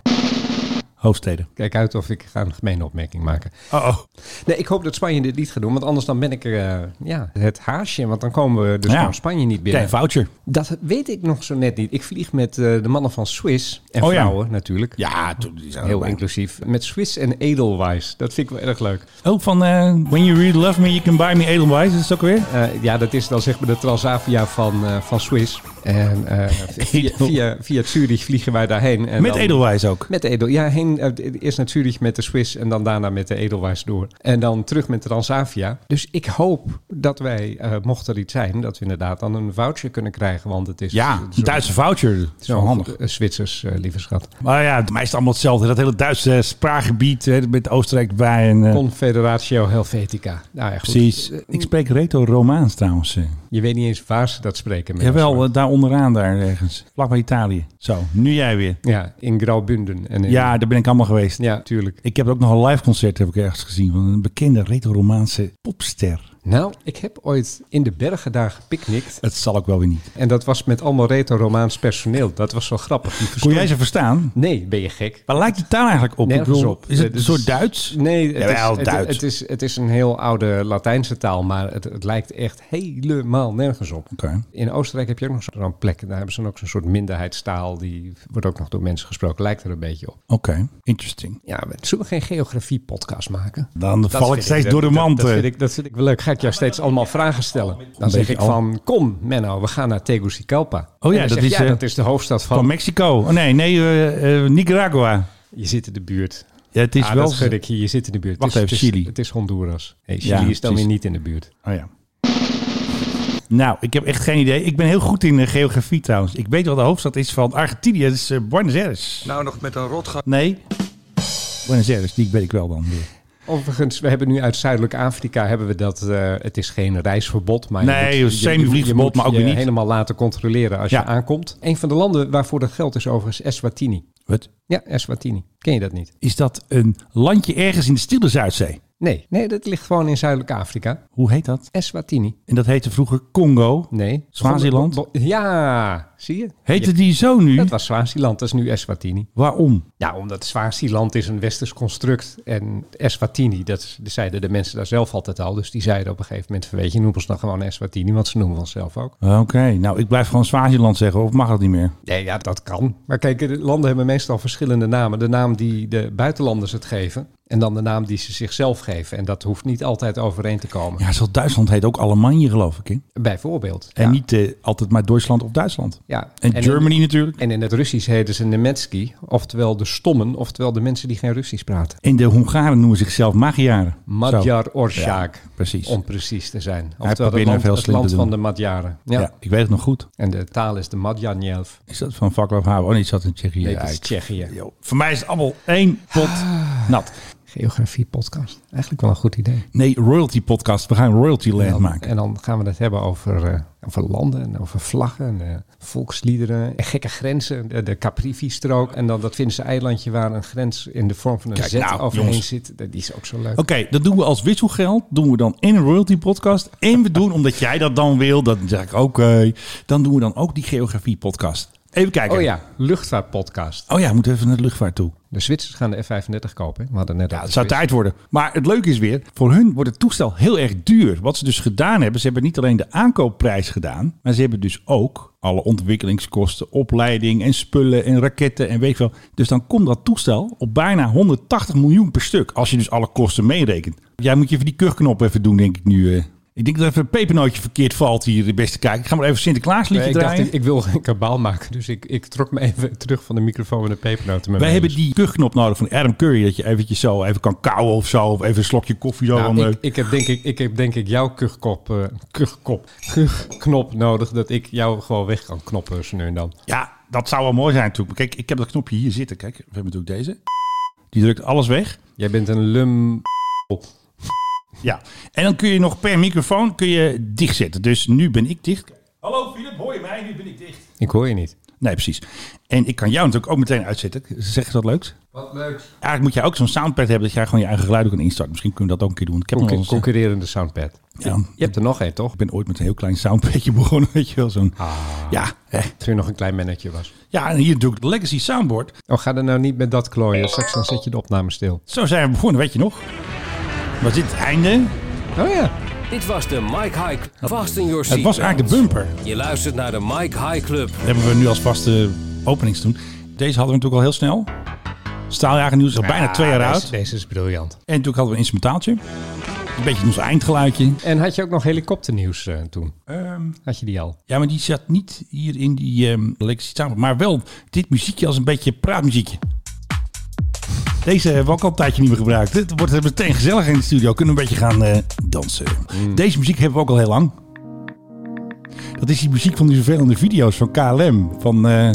[SPEAKER 6] hoofdsteden.
[SPEAKER 3] Kijk uit of ik ga een gemene opmerking maken.
[SPEAKER 6] Oh, oh.
[SPEAKER 3] Nee, ik hoop dat Spanje dit niet gaat doen, want anders dan ben ik er, eh, ja, het haasje. Want dan komen we dus
[SPEAKER 6] Ja.
[SPEAKER 3] van Spanje niet binnen.
[SPEAKER 6] Klein voucher.
[SPEAKER 3] Dat weet ik nog zo net niet. Ik vlieg met eh, de mannen van Swiss en
[SPEAKER 6] Oh ja.
[SPEAKER 3] vrouwen natuurlijk.
[SPEAKER 6] Ja, toen die zijn
[SPEAKER 3] Heel
[SPEAKER 6] erbij.
[SPEAKER 3] inclusief. Met Swiss en Edelweiss. Dat vind ik wel erg leuk.
[SPEAKER 6] Ook van eh, When You Really Love Me, You Can Buy Me Edelweiss. Is dat ook weer?
[SPEAKER 3] Eh, ja, dat is dan zeg maar de Transavia van, eh, van Swiss. En eh, via,
[SPEAKER 6] Edel.
[SPEAKER 3] via, via Zurich vliegen wij daarheen. En
[SPEAKER 6] Met
[SPEAKER 3] dan-
[SPEAKER 6] Edelweiss ook.
[SPEAKER 3] Met de Edel. Ja, heen, eh, eerst naar Zurich met de Swiss en dan daarna met de Edelweiss door. En dan terug met de Transavia. Dus ik hoop dat wij, eh, mocht er iets zijn, dat we inderdaad dan een voucher kunnen krijgen. Want het is
[SPEAKER 6] Ja,
[SPEAKER 3] het is
[SPEAKER 6] een
[SPEAKER 3] ook-
[SPEAKER 6] Duitse voucher. Dat is
[SPEAKER 3] het is
[SPEAKER 6] wel
[SPEAKER 3] ook,
[SPEAKER 6] handig.
[SPEAKER 3] eh, Zwitsers, eh, lieve schat.
[SPEAKER 6] Maar ja, het mij is het allemaal hetzelfde. Dat hele Duitse spraakgebied hè, met Oostenrijk erbij. En, eh,
[SPEAKER 3] Confederatio Helvetica. Nou ja, goed.
[SPEAKER 6] precies. Ik spreek retro-Romaans trouwens. eh.
[SPEAKER 3] Je weet niet eens waar ze dat spreken. met
[SPEAKER 6] Jawel,
[SPEAKER 3] elkaar.
[SPEAKER 6] eh, daar onderaan daar ergens. Vlak bij Italië. Zo, nu jij weer.
[SPEAKER 3] Ja, in Graubunden. En in-
[SPEAKER 6] Ja, daar ben ik allemaal geweest.
[SPEAKER 3] Ja, tuurlijk.
[SPEAKER 6] Ik heb ook nog een live concert heb ik ergens gezien van een bekende retro-Romaanse popster.
[SPEAKER 3] Nou, ik heb ooit in de bergen daar gepicnict.
[SPEAKER 6] Het zal ook wel weer niet.
[SPEAKER 3] En dat was met allemaal retro-Romaans personeel. Dat was wel grappig. Die
[SPEAKER 6] Kon
[SPEAKER 3] verstond-
[SPEAKER 6] jij ze verstaan?
[SPEAKER 3] Nee, ben je gek?
[SPEAKER 6] Waar lijkt de taal eigenlijk op? Ik
[SPEAKER 3] Nergens
[SPEAKER 6] bedoel,
[SPEAKER 3] op.
[SPEAKER 6] Is het
[SPEAKER 3] Eh,
[SPEAKER 6] een
[SPEAKER 3] dus-
[SPEAKER 6] soort Duits?
[SPEAKER 3] Nee, het,
[SPEAKER 6] Jawel,
[SPEAKER 3] is, het-
[SPEAKER 6] Duits.
[SPEAKER 3] Het, is, het is een heel oude Latijnse taal, maar het, het lijkt echt helemaal nergens op.
[SPEAKER 6] Oké.
[SPEAKER 3] In Oostenrijk heb je ook nog zo'n plek. Daar hebben ze dan ook zo'n soort minderheidstaal. Die wordt ook nog door mensen gesproken. Lijkt er een beetje op.
[SPEAKER 6] Oké, interesting.
[SPEAKER 3] Ja, we- zullen we geen geografie-podcast maken?
[SPEAKER 6] Dan val ik
[SPEAKER 3] vind
[SPEAKER 6] steeds
[SPEAKER 3] dat-
[SPEAKER 6] door de
[SPEAKER 3] dat-
[SPEAKER 6] mand.
[SPEAKER 3] Dat,
[SPEAKER 6] eh.
[SPEAKER 3] vind ik, dat vind ik wel leuk. Ga ik jou steeds allemaal vragen stellen. Dan zeg
[SPEAKER 6] beetje
[SPEAKER 3] ik
[SPEAKER 6] al.
[SPEAKER 3] van, kom Menno, we gaan naar Tegucigalpa.
[SPEAKER 6] ja,
[SPEAKER 3] En dan
[SPEAKER 6] dat
[SPEAKER 3] zeg
[SPEAKER 6] is,
[SPEAKER 3] jij,
[SPEAKER 6] eh,
[SPEAKER 3] dat is de hoofdstad van...
[SPEAKER 6] Van Mexico. Oh nee, nee, eh, eh, Nicaragua.
[SPEAKER 3] Je zit in de buurt.
[SPEAKER 6] Ja, het is
[SPEAKER 3] ah,
[SPEAKER 6] wel...
[SPEAKER 3] dat schud ik hier. Je zit in de buurt.
[SPEAKER 6] Wacht
[SPEAKER 3] Het is-
[SPEAKER 6] even,
[SPEAKER 3] het is-
[SPEAKER 6] Chili.
[SPEAKER 3] Het is Honduras. Hey, Chili
[SPEAKER 6] Ja,
[SPEAKER 3] is dan weer
[SPEAKER 6] precies.
[SPEAKER 3] niet in de buurt.
[SPEAKER 6] Oh ja. Nou, ik heb echt geen idee. Ik ben heel goed in eh, geografie trouwens. Ik weet wat de hoofdstad is van Argentinië. Dat is eh, Buenos Aires.
[SPEAKER 7] Nou nog met een rotga.
[SPEAKER 6] Nee. Buenos Aires, die weet ik wel dan weer.
[SPEAKER 3] Overigens, we hebben nu uit Zuidelijk Afrika hebben we dat. eh, het is geen reisverbod, maar
[SPEAKER 6] Nee,
[SPEAKER 3] je moet, je-
[SPEAKER 6] semi-vliegverbod,
[SPEAKER 3] je moet
[SPEAKER 6] maar ook
[SPEAKER 3] je
[SPEAKER 6] weer niet.
[SPEAKER 3] helemaal laten controleren als
[SPEAKER 6] Ja.
[SPEAKER 3] je aankomt. Een van de landen waarvoor dat geldt is overigens Eswatini.
[SPEAKER 6] Wat?
[SPEAKER 3] Ja, Eswatini. Ken je dat niet?
[SPEAKER 6] Is dat een landje ergens in de Stille Zuidzee?
[SPEAKER 3] Nee, nee, dat ligt gewoon in Zuidelijk Afrika.
[SPEAKER 6] Hoe heet dat?
[SPEAKER 3] Eswatini.
[SPEAKER 6] En dat heette vroeger Congo.
[SPEAKER 3] Nee.
[SPEAKER 6] Swaziland?
[SPEAKER 3] Bo- bo- Ja, zie je?
[SPEAKER 6] Heette die zo nu?
[SPEAKER 3] Dat was Swaziland, dat is nu Eswatini.
[SPEAKER 6] Waarom?
[SPEAKER 3] Ja, omdat Swaziland is een westers construct en Eswatini, dat is- dat zeiden de mensen daar zelf altijd al. Dus die zeiden op een gegeven moment van, weet je, noem ons dan gewoon Eswatini, want ze noemen onszelf ook.
[SPEAKER 6] Oké, nou ik blijf gewoon Swaziland zeggen, of mag dat niet meer?
[SPEAKER 3] Nee, ja, dat kan. Maar kijk, de landen hebben meestal verschillende namen. De naam die de buitenlanders het geven en dan de naam die ze zichzelf geven. En dat hoeft niet altijd overeen te komen.
[SPEAKER 6] Ja, zoals Duitsland heet ook Alemanje, geloof ik. Hè?
[SPEAKER 3] Bijvoorbeeld.
[SPEAKER 6] En
[SPEAKER 3] ja.
[SPEAKER 6] niet eh, altijd maar Duitsland of Duitsland.
[SPEAKER 3] Ja.
[SPEAKER 6] En,
[SPEAKER 3] in-
[SPEAKER 6] Germany natuurlijk.
[SPEAKER 3] en in het Russisch heten ze Nemetsky, oftewel de stommen, oftewel de mensen die geen Russisch praten.
[SPEAKER 6] En de Hongaren noemen zichzelf Magyaren.
[SPEAKER 3] Madjar Orshak,
[SPEAKER 6] Ja, precies.
[SPEAKER 3] om precies te zijn.
[SPEAKER 6] probeert
[SPEAKER 3] Oftewel het
[SPEAKER 6] nou
[SPEAKER 3] land,
[SPEAKER 6] veel
[SPEAKER 3] het
[SPEAKER 6] slim te
[SPEAKER 3] land
[SPEAKER 6] doen.
[SPEAKER 3] van de Madjaren. Ja.
[SPEAKER 6] Ja. ik weet het nog goed.
[SPEAKER 3] En de taal is de Madjanjelf.
[SPEAKER 6] Is dat van Vaclav Havel? Oh nee, is dat in Tsjechië?
[SPEAKER 3] Nee,
[SPEAKER 6] Ja,
[SPEAKER 3] dat is
[SPEAKER 6] ik-
[SPEAKER 3] Tsjechië. Ah.
[SPEAKER 6] Yo, voor mij is het allemaal één pot nat.
[SPEAKER 3] Geografie podcast. Eigenlijk wel een goed idee.
[SPEAKER 6] Nee, royalty podcast. We gaan royalty land
[SPEAKER 3] En dan,
[SPEAKER 6] maken.
[SPEAKER 3] en dan gaan we het hebben over, eh, over landen en over vlaggen en eh, volksliederen en gekke grenzen. De, de Caprivi-strook en dan dat Finse eilandje waar een grens in de vorm van een
[SPEAKER 6] Kijk,
[SPEAKER 3] Z
[SPEAKER 6] nou,
[SPEAKER 3] overheen
[SPEAKER 6] jongens.
[SPEAKER 3] zit. Dat- Die is ook zo leuk.
[SPEAKER 6] Oké, dat doen we als wisselgeld. Doen we dan in een royalty podcast. En we doen, omdat jij dat dan wil, dan zeg ik oké. dan doen we dan ook die geografie podcast. Even kijken.
[SPEAKER 3] Oh ja, luchtvaartpodcast.
[SPEAKER 6] Oh ja, we moeten even naar de luchtvaart toe.
[SPEAKER 3] De Zwitsers gaan de F-35 kopen. hè? We hadden net
[SPEAKER 6] Ja,
[SPEAKER 3] over
[SPEAKER 6] het
[SPEAKER 3] Zwitsers.
[SPEAKER 6] zou tijd worden. Maar het leuke is weer, voor hun wordt het toestel heel erg duur. Wat ze dus gedaan hebben, ze hebben niet alleen de aankoopprijs gedaan, maar ze hebben dus ook alle ontwikkelingskosten, opleiding en spullen en raketten en weet ik veel. Dus dan komt dat toestel op bijna 180 miljoen per stuk, als je dus alle kosten meerekent. Jij moet je even die kuchknop even doen, denk ik nu. eh. Ik denk dat even een pepernootje verkeerd valt hier, de beste kijker. Ik ga maar even Sinterklaasliedje
[SPEAKER 3] Nee, ik, dacht,
[SPEAKER 6] draaien.
[SPEAKER 3] ik, ik wil geen kabaal maken, dus ik, ik trok me even terug van de microfoon en de pepernoten. met
[SPEAKER 6] Wij
[SPEAKER 3] me
[SPEAKER 6] hebben
[SPEAKER 3] mee.
[SPEAKER 6] die kuchknop nodig van Adam Curry, dat je eventjes zo even kan kauwen of zo, of even een slokje koffie zo. om,
[SPEAKER 3] Nou,
[SPEAKER 6] eh,
[SPEAKER 3] ik, ik, heb denk ik, ik heb denk ik jouw kuchkop, eh, kuchkop, kuchknop nodig, dat ik jou gewoon weg kan knoppen zo nu en dan.
[SPEAKER 6] Ja, dat zou wel mooi zijn natuurlijk. Kijk, ik heb dat knopje hier zitten. Kijk, we hebben natuurlijk deze. Die drukt alles weg.
[SPEAKER 3] Jij bent een lum...
[SPEAKER 6] Ja. En dan kun je nog per microfoon kun je dicht zetten. Dus nu ben ik dicht. Hallo Philip, hoor je mij? Nu ben ik dicht.
[SPEAKER 3] Ik hoor je niet.
[SPEAKER 6] Nee, precies. En ik kan jou natuurlijk ook meteen uitzetten. Zeg je dat leuk?
[SPEAKER 3] Wat leuk.
[SPEAKER 6] Eigenlijk moet jij ook zo'n soundpad hebben dat jij gewoon je eigen geluiden kan instarten. Misschien kunnen we dat ook een keer doen. Ik heb nog wel eens-
[SPEAKER 3] concurrerende soundpad.
[SPEAKER 6] ja,
[SPEAKER 3] Je hebt er nog één, toch?
[SPEAKER 6] ik ben ooit met een heel klein soundpadje begonnen, weet je wel. Zo'n, ja, hè.
[SPEAKER 3] Toen je nog een klein mannetje was.
[SPEAKER 6] ja, en hier natuurlijk het Legacy Soundboard.
[SPEAKER 3] Oh, ga er nou niet met dat klooien. Straks dan zet je de opname stil.
[SPEAKER 6] Zo zijn we begonnen, weet je nog? Was dit het einde?
[SPEAKER 3] Oh ja.
[SPEAKER 8] Dit was de Mike High Vast in your seat.
[SPEAKER 6] Het was eigenlijk de bumper.
[SPEAKER 8] Je luistert naar de Mike High Club.
[SPEAKER 6] Dat hebben we nu als vaste openings doen. Deze hadden we natuurlijk al heel snel. Staaljager nieuws is al bijna twee jaar oud.
[SPEAKER 3] Deze, deze is briljant.
[SPEAKER 6] En natuurlijk hadden we een instrumentaaltje. Een beetje ons eindgeluidje.
[SPEAKER 3] En had je ook nog helikopternieuws eh, toen? Had je die al?
[SPEAKER 6] ja, maar die zat niet hier in die ehm Legacy Sound. Maar wel dit muziekje als een beetje praatmuziekje. Deze hebben we ook al een tijdje niet meer gebruikt. Het wordt meteen gezellig in de studio. Kunnen we een beetje gaan eh, dansen. Deze muziek hebben we ook al heel lang. Dat is die muziek van die vervelende video's van KLM. Van, eh,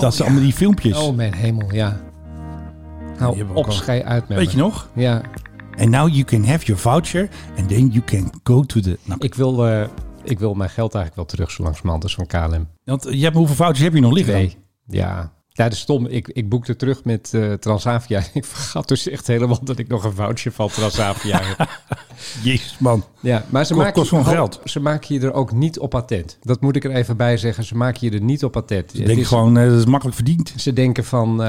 [SPEAKER 6] dat ze allemaal die filmpjes.
[SPEAKER 3] Oh mijn hemel, ja.
[SPEAKER 6] Die
[SPEAKER 3] Nou,
[SPEAKER 6] hebben we
[SPEAKER 3] op,
[SPEAKER 6] ook al.
[SPEAKER 3] schei uit met
[SPEAKER 6] Weet je
[SPEAKER 3] me.
[SPEAKER 6] nog?
[SPEAKER 3] Ja,
[SPEAKER 6] And now you can have your voucher and then you can go to the... Nou,
[SPEAKER 3] ik wil, eh, ik wil mijn geld eigenlijk wel terug zo langzamerhand als van KLM.
[SPEAKER 6] want eh, je hebt, hoeveel vouchers heb je nog liggen?
[SPEAKER 3] Nee, ja. Ja, dat is stom. Ik, ik boekte terug met eh, Transavia. Ik vergat dus echt helemaal dat ik nog een voucher van Transavia heb.
[SPEAKER 6] dan? Jezus man.
[SPEAKER 3] Ja, maar ze
[SPEAKER 6] Kost-
[SPEAKER 3] maken,
[SPEAKER 6] kost gewoon
[SPEAKER 3] oh,
[SPEAKER 6] geld.
[SPEAKER 3] ze maken je er ook niet op patent. Dat moet ik er even bij zeggen. Ze maken je er niet op patent.
[SPEAKER 6] Ik
[SPEAKER 3] Het
[SPEAKER 6] denk
[SPEAKER 3] is-
[SPEAKER 6] gewoon, eh, dat is makkelijk verdiend.
[SPEAKER 3] Ze denken van, eh,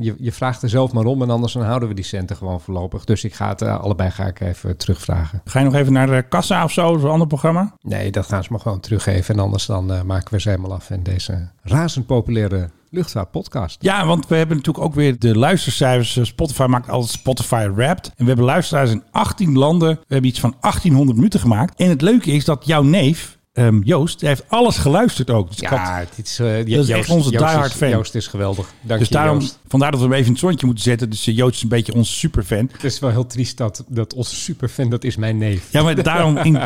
[SPEAKER 3] je, je vraagt er zelf maar om en anders dan houden we die centen gewoon voorlopig. Dus ik ga het eh, allebei ga ik even terugvragen.
[SPEAKER 6] Ga je nog even naar eh, Kassa of zo, zo'n ander programma?
[SPEAKER 3] Nee, dat gaan ze me gewoon teruggeven en anders dan eh, maken we ze helemaal af in deze razend populaire luchtvaartpodcast.
[SPEAKER 6] Ja, want we hebben natuurlijk ook weer de luistercijfers. Eh, Spotify maakt altijd Spotify Wrapped. En we hebben luisteraars in 18 landen. We hebben iets van 1800 minuten gemaakt. En het leuke is dat jouw neef, ehm, Joost, hij heeft alles geluisterd ook. Dus ik had-
[SPEAKER 3] Ja, dit is, eh,
[SPEAKER 6] is echt onze
[SPEAKER 3] Joost
[SPEAKER 6] diehard
[SPEAKER 3] is-
[SPEAKER 6] fan.
[SPEAKER 3] Joost is geweldig. Dank
[SPEAKER 6] dus
[SPEAKER 3] je,
[SPEAKER 6] daarom,
[SPEAKER 3] Joost.
[SPEAKER 6] vandaar dat we hem even in het zonnetje moeten zetten. Dus eh, Joost is een beetje onze superfan.
[SPEAKER 3] Het is wel heel triest dat, dat onze superfan, dat is mijn neef.
[SPEAKER 6] Ja, maar daarom, in,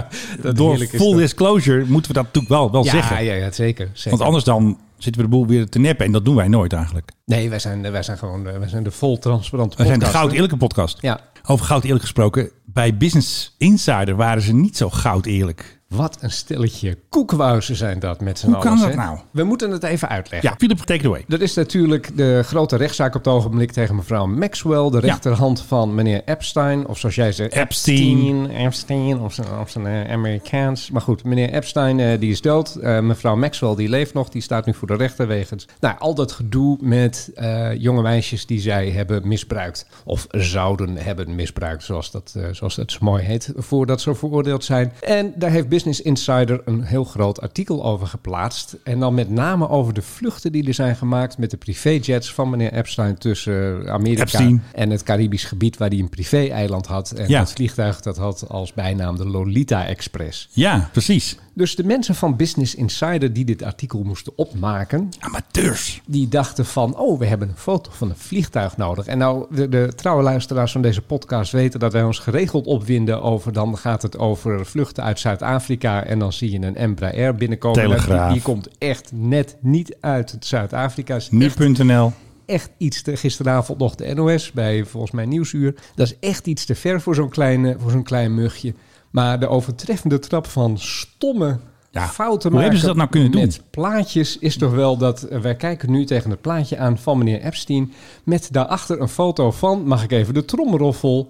[SPEAKER 3] Dat
[SPEAKER 6] door
[SPEAKER 3] heerlijk is
[SPEAKER 6] full
[SPEAKER 3] dat.
[SPEAKER 6] disclosure, moeten we dat natuurlijk wel, wel
[SPEAKER 3] ja,
[SPEAKER 6] zeggen.
[SPEAKER 3] ja, ja, zeker. zeker.
[SPEAKER 6] Want anders dan zitten we de boel weer te neppen. En dat doen wij nooit eigenlijk.
[SPEAKER 3] Nee, wij zijn, wij zijn gewoon eh, wij zijn de vol transparante
[SPEAKER 6] We zijn
[SPEAKER 3] podcast.
[SPEAKER 6] de goud eerlijke podcast.
[SPEAKER 3] Ja.
[SPEAKER 6] Over goud eerlijk gesproken. Bij Business Insider waren ze niet zo goud eerlijk.
[SPEAKER 3] Wat een stelletje koekwauzen zijn dat met z'n
[SPEAKER 6] Hoe
[SPEAKER 3] allen.
[SPEAKER 6] kan dat nou?
[SPEAKER 3] We moeten het even uitleggen.
[SPEAKER 6] Ja, Philip, take it away.
[SPEAKER 3] Er is natuurlijk de grote rechtszaak op het ogenblik tegen mevrouw Maxwell, de rechterhand van meneer Epstein. Of zoals jij zegt,
[SPEAKER 6] Epstein.
[SPEAKER 3] Epstein, Epstein, of zijn, of zijn eh, Amerikaans. Maar goed, meneer Epstein eh, die is dood. Eh, mevrouw Maxwell die leeft nog, die staat nu voor de rechter wegens nou, al dat gedoe met eh, jonge meisjes die zij hebben misbruikt. Of zouden hebben misbruikt, zoals dat, eh, zoals dat zo mooi heet, voordat ze veroordeeld zijn. En daar heeft Business Insider een heel groot artikel over geplaatst. En dan met name over de vluchten die er zijn gemaakt met de privéjets van meneer Epstein tussen eh, Amerika
[SPEAKER 6] Epstein.
[SPEAKER 3] en het Caribisch gebied waar hij een privé-eiland had. En
[SPEAKER 6] Ja.
[SPEAKER 3] dat vliegtuig dat had als bijnaam de Lolita Express.
[SPEAKER 6] Ja, precies.
[SPEAKER 3] Dus de mensen van Business Insider die dit artikel moesten opmaken,
[SPEAKER 6] Amateurs.
[SPEAKER 3] die dachten van, oh, we hebben een foto van een vliegtuig nodig. En nou, de, de trouwe luisteraars van deze podcast weten dat wij ons geregeld opwinden over, dan gaat het over vluchten uit Zuid-Afrika en dan zie je een Embraer binnenkomen. Nou,
[SPEAKER 6] Telegraaf.
[SPEAKER 3] Die, die komt echt net niet uit het Zuid-Afrika. Is echt
[SPEAKER 6] Nu.nl.
[SPEAKER 3] echt iets te. Gisteravond nog de NOS bij volgens mij Nieuwsuur. Dat is echt iets te ver voor zo'n kleine, voor zo'n klein mugje. Maar de overtreffende trap van stomme
[SPEAKER 6] Ja,
[SPEAKER 3] fouten
[SPEAKER 6] hoe
[SPEAKER 3] maken.
[SPEAKER 6] hebben ze dat nou kunnen doen?
[SPEAKER 3] Met plaatjes is toch wel dat. eh, wij kijken nu tegen het plaatje aan van meneer Epstein. Met daarachter een foto van. Mag ik even de tromroffel?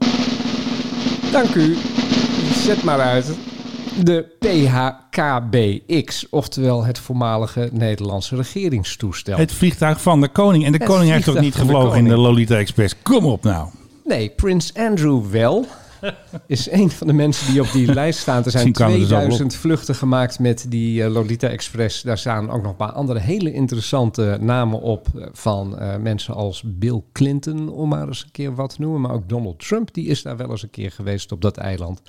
[SPEAKER 3] Dank u. Zet maar uit. De PHKBX, oftewel het voormalige Nederlandse regeringstoestel.
[SPEAKER 6] Het vliegtuig van de koning. En de
[SPEAKER 3] Het
[SPEAKER 6] koning heeft ook
[SPEAKER 3] vliegtuig van
[SPEAKER 6] niet
[SPEAKER 3] de
[SPEAKER 6] gevlogen in de
[SPEAKER 3] koning.
[SPEAKER 6] Lolita Express. Kom op nou.
[SPEAKER 3] Nee, Prins Andrew wel. Is een van de mensen die op die lijst staan. Er zijn
[SPEAKER 6] Misschien kwamen er zo wel op.
[SPEAKER 3] 2000 vluchten gemaakt met die eh, Lolita Express. Daar staan ook nog een paar andere hele interessante namen op. eh, Van eh, mensen als Bill Clinton, om maar eens een keer wat te noemen. Maar ook Donald Trump, die is daar wel eens een keer geweest op dat eiland.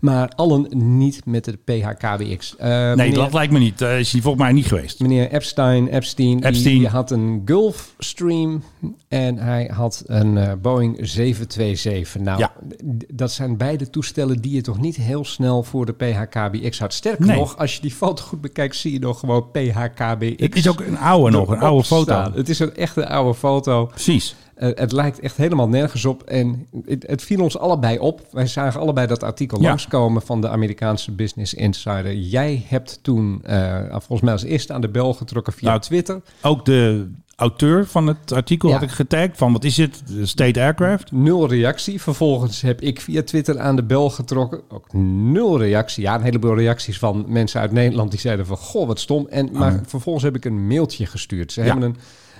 [SPEAKER 3] Maar allen niet met de PHKBX. Eh,
[SPEAKER 6] Nee,
[SPEAKER 3] meneer-
[SPEAKER 6] dat lijkt me niet. Eh is hij volgens mij niet geweest.
[SPEAKER 3] Meneer Epstein, Epstein, die-
[SPEAKER 6] Epstein.
[SPEAKER 3] Die had een Gulfstream en hij had een eh, Boeing 727. Nou,
[SPEAKER 6] Ja.
[SPEAKER 3] d- dat zijn beide toestellen die je toch niet heel snel voor de PHKBX had. Sterker
[SPEAKER 6] Nee.
[SPEAKER 3] nog, als je die foto goed bekijkt, zie je nog gewoon PHKBX.
[SPEAKER 6] Het is ook een oude nog, een
[SPEAKER 3] erop
[SPEAKER 6] oude
[SPEAKER 3] staan.
[SPEAKER 6] foto.
[SPEAKER 3] Het is een echte oude foto.
[SPEAKER 6] Precies.
[SPEAKER 3] Eh, het lijkt echt helemaal nergens op. En het, het viel ons allebei op. Wij zagen allebei dat artikel
[SPEAKER 6] Ja.
[SPEAKER 3] langskomen van de Amerikaanse Business Insider. Jij hebt toen eh, volgens mij als eerste aan de bel getrokken via
[SPEAKER 6] Nou,
[SPEAKER 3] Twitter.
[SPEAKER 6] Ook de auteur van het artikel
[SPEAKER 3] Ja.
[SPEAKER 6] had ik getagd van wat is het? State Aircraft.
[SPEAKER 3] Nul reactie. Vervolgens heb ik via Twitter aan de bel getrokken. Ook nul reactie. Ja, een heleboel reacties van mensen uit Nederland die zeiden van... Goh, wat stom. En, maar vervolgens heb ik een mailtje gestuurd. Ze
[SPEAKER 6] Ah, Ja.
[SPEAKER 3] hebben een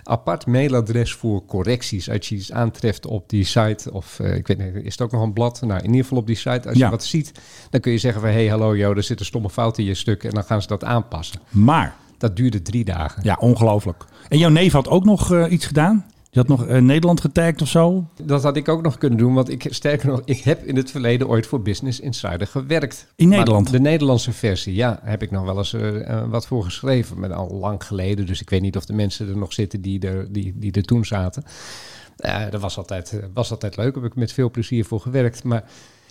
[SPEAKER 3] apart mailadres voor correcties. Als je iets aantreft op die site of eh, ik weet niet, is het ook nog een blad? Nou, in ieder geval op die site. Als
[SPEAKER 6] Ja.
[SPEAKER 3] je wat ziet, dan kun je zeggen van... hey, hallo, joh, er zit een stomme fout in je stuk. En dan gaan ze dat aanpassen.
[SPEAKER 6] Maar,
[SPEAKER 3] Dat duurde drie dagen.
[SPEAKER 6] ja, ongelooflijk. En jouw neef had ook nog eh, iets gedaan? Die had nog eh, Nederland getagd of zo?
[SPEAKER 3] Dat had ik ook nog kunnen doen, want ik, sterker nog, ik heb in het verleden ooit voor Business Insider gewerkt.
[SPEAKER 6] In
[SPEAKER 3] Maar
[SPEAKER 6] Nederland?
[SPEAKER 3] de Nederlandse versie, ja, heb ik nog wel eens eh, eh, wat voor geschreven, maar al lang geleden. Dus ik weet niet of de mensen er nog zitten die er, die, die er toen zaten. Eh, dat was altijd, eh, was altijd leuk, heb ik met veel plezier voor gewerkt. Maar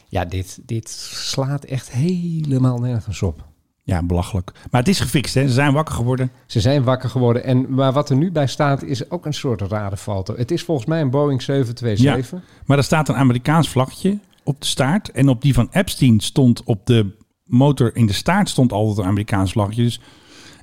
[SPEAKER 3] ja, dit, dit slaat echt helemaal nergens op.
[SPEAKER 6] Ja, belachelijk. Maar het is gefixt, hè? Ze zijn wakker geworden.
[SPEAKER 3] Ze zijn wakker geworden. En, maar wat er nu bij staat is ook een soort rare foto. Het is volgens mij een Boeing 727.
[SPEAKER 6] Maar er staat een Amerikaans vlaggetje op de staart. En op die van Epstein stond op de motor in de staart stond altijd een Amerikaans vlaggetje. Dus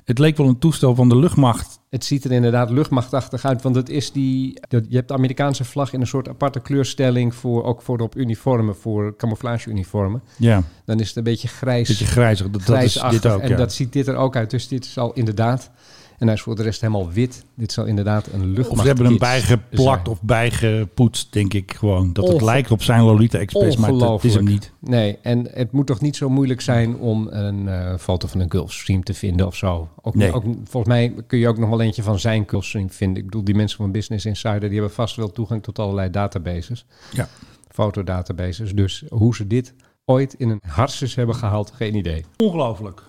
[SPEAKER 6] het leek wel een toestel van de luchtmacht.
[SPEAKER 3] Het ziet er inderdaad luchtmachtachtig uit, want het is die, dat- je hebt de Amerikaanse vlag in een soort aparte kleurstelling voor, ook voor op uniformen, voor camouflageuniformen.
[SPEAKER 6] Ja,
[SPEAKER 3] Dan is het een beetje grijs,
[SPEAKER 6] beetje grijzig. Dat, dat is
[SPEAKER 3] grijsachtig
[SPEAKER 6] dit ook,
[SPEAKER 3] en
[SPEAKER 6] ja.
[SPEAKER 3] dat ziet dit er ook uit. Dus dit zal inderdaad, en hij is voor de rest helemaal wit, dit zal inderdaad een luchtmacht.
[SPEAKER 6] Of ze hebben hem bijgeplakt of bijgepoetst, denk ik gewoon. Dat het
[SPEAKER 3] Onge-
[SPEAKER 6] lijkt op zijn Lolita Express, maar het- het is hem niet.
[SPEAKER 3] Nee, en het moet toch niet zo moeilijk zijn om een eh, foto van een Gulfstream te vinden of zo. Ook,
[SPEAKER 6] Nee.
[SPEAKER 3] ook, volgens mij kun je ook nog wel eentje van zijn Gulfstream vinden. Ik bedoel, die mensen van Business Insider, die hebben vast wel toegang tot allerlei databases.
[SPEAKER 6] Ja.
[SPEAKER 3] Fotodatabases. Dus hoe ze dit ooit in een harses hebben gehaald, geen idee.
[SPEAKER 6] Ongelooflijk.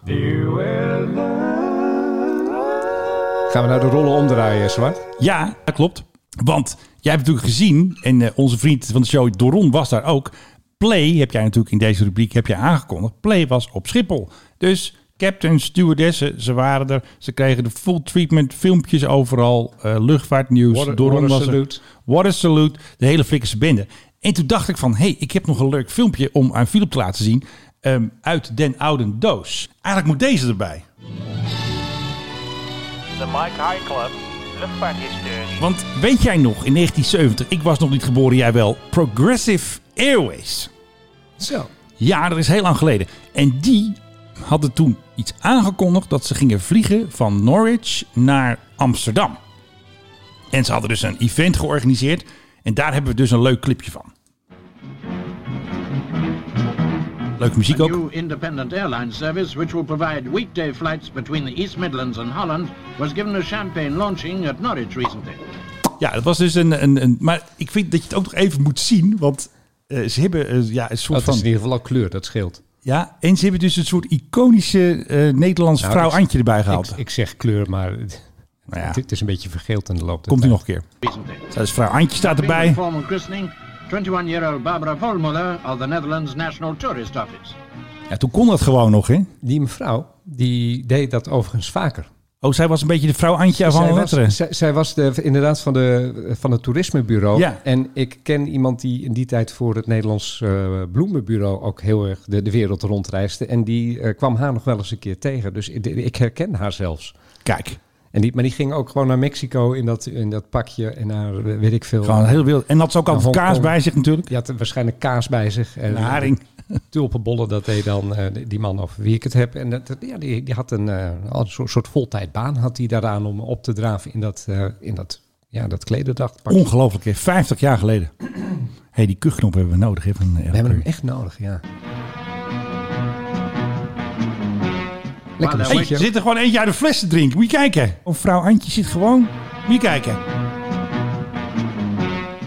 [SPEAKER 3] Gaan we nou de rollen omdraaien, Zwart?
[SPEAKER 6] Ja, dat klopt. Want jij hebt natuurlijk gezien, en eh, onze vriend van de show Doron was daar ook. Play heb jij natuurlijk in deze rubriek heb jij aangekondigd. Play was op Schiphol. Dus captain, stewardessen, ze waren er. Ze kregen de full treatment, filmpjes overal, eh, luchtvaartnieuws.
[SPEAKER 3] What a-
[SPEAKER 6] Doron
[SPEAKER 3] what a
[SPEAKER 6] was er.
[SPEAKER 3] salute.
[SPEAKER 6] What a salute. De hele flikkerse bende. En toen dacht ik van, hé, hey, ik heb nog een leuk filmpje om aan Philip te laten zien. ehm, uit den oude doos. Eigenlijk moet deze erbij.
[SPEAKER 10] De Mike High Club, luchtvaarthistorie.
[SPEAKER 6] Want weet jij nog, in 1970, ik was nog niet geboren, jij wel, Progressive Airways.
[SPEAKER 3] Zo.
[SPEAKER 6] Ja, dat is heel lang geleden. En die hadden toen iets aangekondigd dat ze gingen vliegen van Norwich naar Amsterdam. En ze hadden dus een event georganiseerd. En daar hebben we dus een leuk clipje van. Leuke muziek
[SPEAKER 11] a
[SPEAKER 6] ook.
[SPEAKER 11] new independent airline service which will provide weekday flights between the East Midlands and Holland was given a champagne launching at Norwich recently.
[SPEAKER 6] Ja, dat was dus een, een, een... Maar ik vind dat je het ook nog even moet zien, want eh, ze hebben eh, ja, een soort
[SPEAKER 3] Dat
[SPEAKER 6] van...
[SPEAKER 3] Oh, is in ieder geval ook kleur, dat scheelt.
[SPEAKER 6] Ja, en ze hebben dus een soort iconische eh, Nederlandse
[SPEAKER 3] Nou,
[SPEAKER 6] vrouw
[SPEAKER 3] ik-
[SPEAKER 6] Antje erbij gehaald.
[SPEAKER 3] Ik, ik zeg kleur, maar het,
[SPEAKER 6] Nou ja,
[SPEAKER 3] het is een beetje vergeeld in de loop der
[SPEAKER 6] komt u
[SPEAKER 3] tijd.
[SPEAKER 6] nog een keer. Dus vrouw Antje staat
[SPEAKER 11] Been
[SPEAKER 6] erbij.
[SPEAKER 11] formal christening, 21-year-old Barbara Volmuller of the Netherlands National Tourist Office.
[SPEAKER 6] Ja, toen kon dat gewoon nog, hè?
[SPEAKER 3] Die mevrouw, die deed dat overigens vaker.
[SPEAKER 6] Oh, zij was een beetje de vrouw Antje van
[SPEAKER 3] zij,
[SPEAKER 6] de
[SPEAKER 3] was,
[SPEAKER 6] letteren.
[SPEAKER 3] zij, zij was de, inderdaad van, de, van het toerismebureau.
[SPEAKER 6] Ja.
[SPEAKER 3] En ik ken iemand die in die tijd voor het Nederlands eh, bloemenbureau ook heel erg de, de wereld rondreisde. En die eh, kwam haar nog wel eens een keer tegen. Dus ik, ik herken haar zelfs.
[SPEAKER 6] Kijk,
[SPEAKER 3] En die, maar die ging ook gewoon naar Mexico in dat, in dat pakje en naar eh, weet ik veel.
[SPEAKER 6] gewoon heel wild. En had ze ook altijd
[SPEAKER 3] Hongkong.
[SPEAKER 6] kaas bij zich natuurlijk.
[SPEAKER 3] Die had waarschijnlijk kaas bij zich. En
[SPEAKER 6] Een haring.
[SPEAKER 3] Tulpenbollen, dat deed dan eh, die man over wie ik het heb. En dat, ja, die, die had een, eh, een soort, soort voltijdbaan had hij daaraan om op te draven in dat, eh, in dat, ja, dat klederdagpakje.
[SPEAKER 6] Ongelooflijk, hè? 50 jaar geleden. hey, die kuchknop hebben we nodig, hè? Van, eh,
[SPEAKER 3] We hebben hem
[SPEAKER 6] Elke.
[SPEAKER 3] echt nodig, ja.
[SPEAKER 11] While
[SPEAKER 3] Lekker
[SPEAKER 11] they're
[SPEAKER 6] hey,
[SPEAKER 3] muziekje.
[SPEAKER 6] er zit er gewoon eentje uit de fles te drinken. Moet je kijken. Of vrouw Antje zit gewoon. Moet je kijken.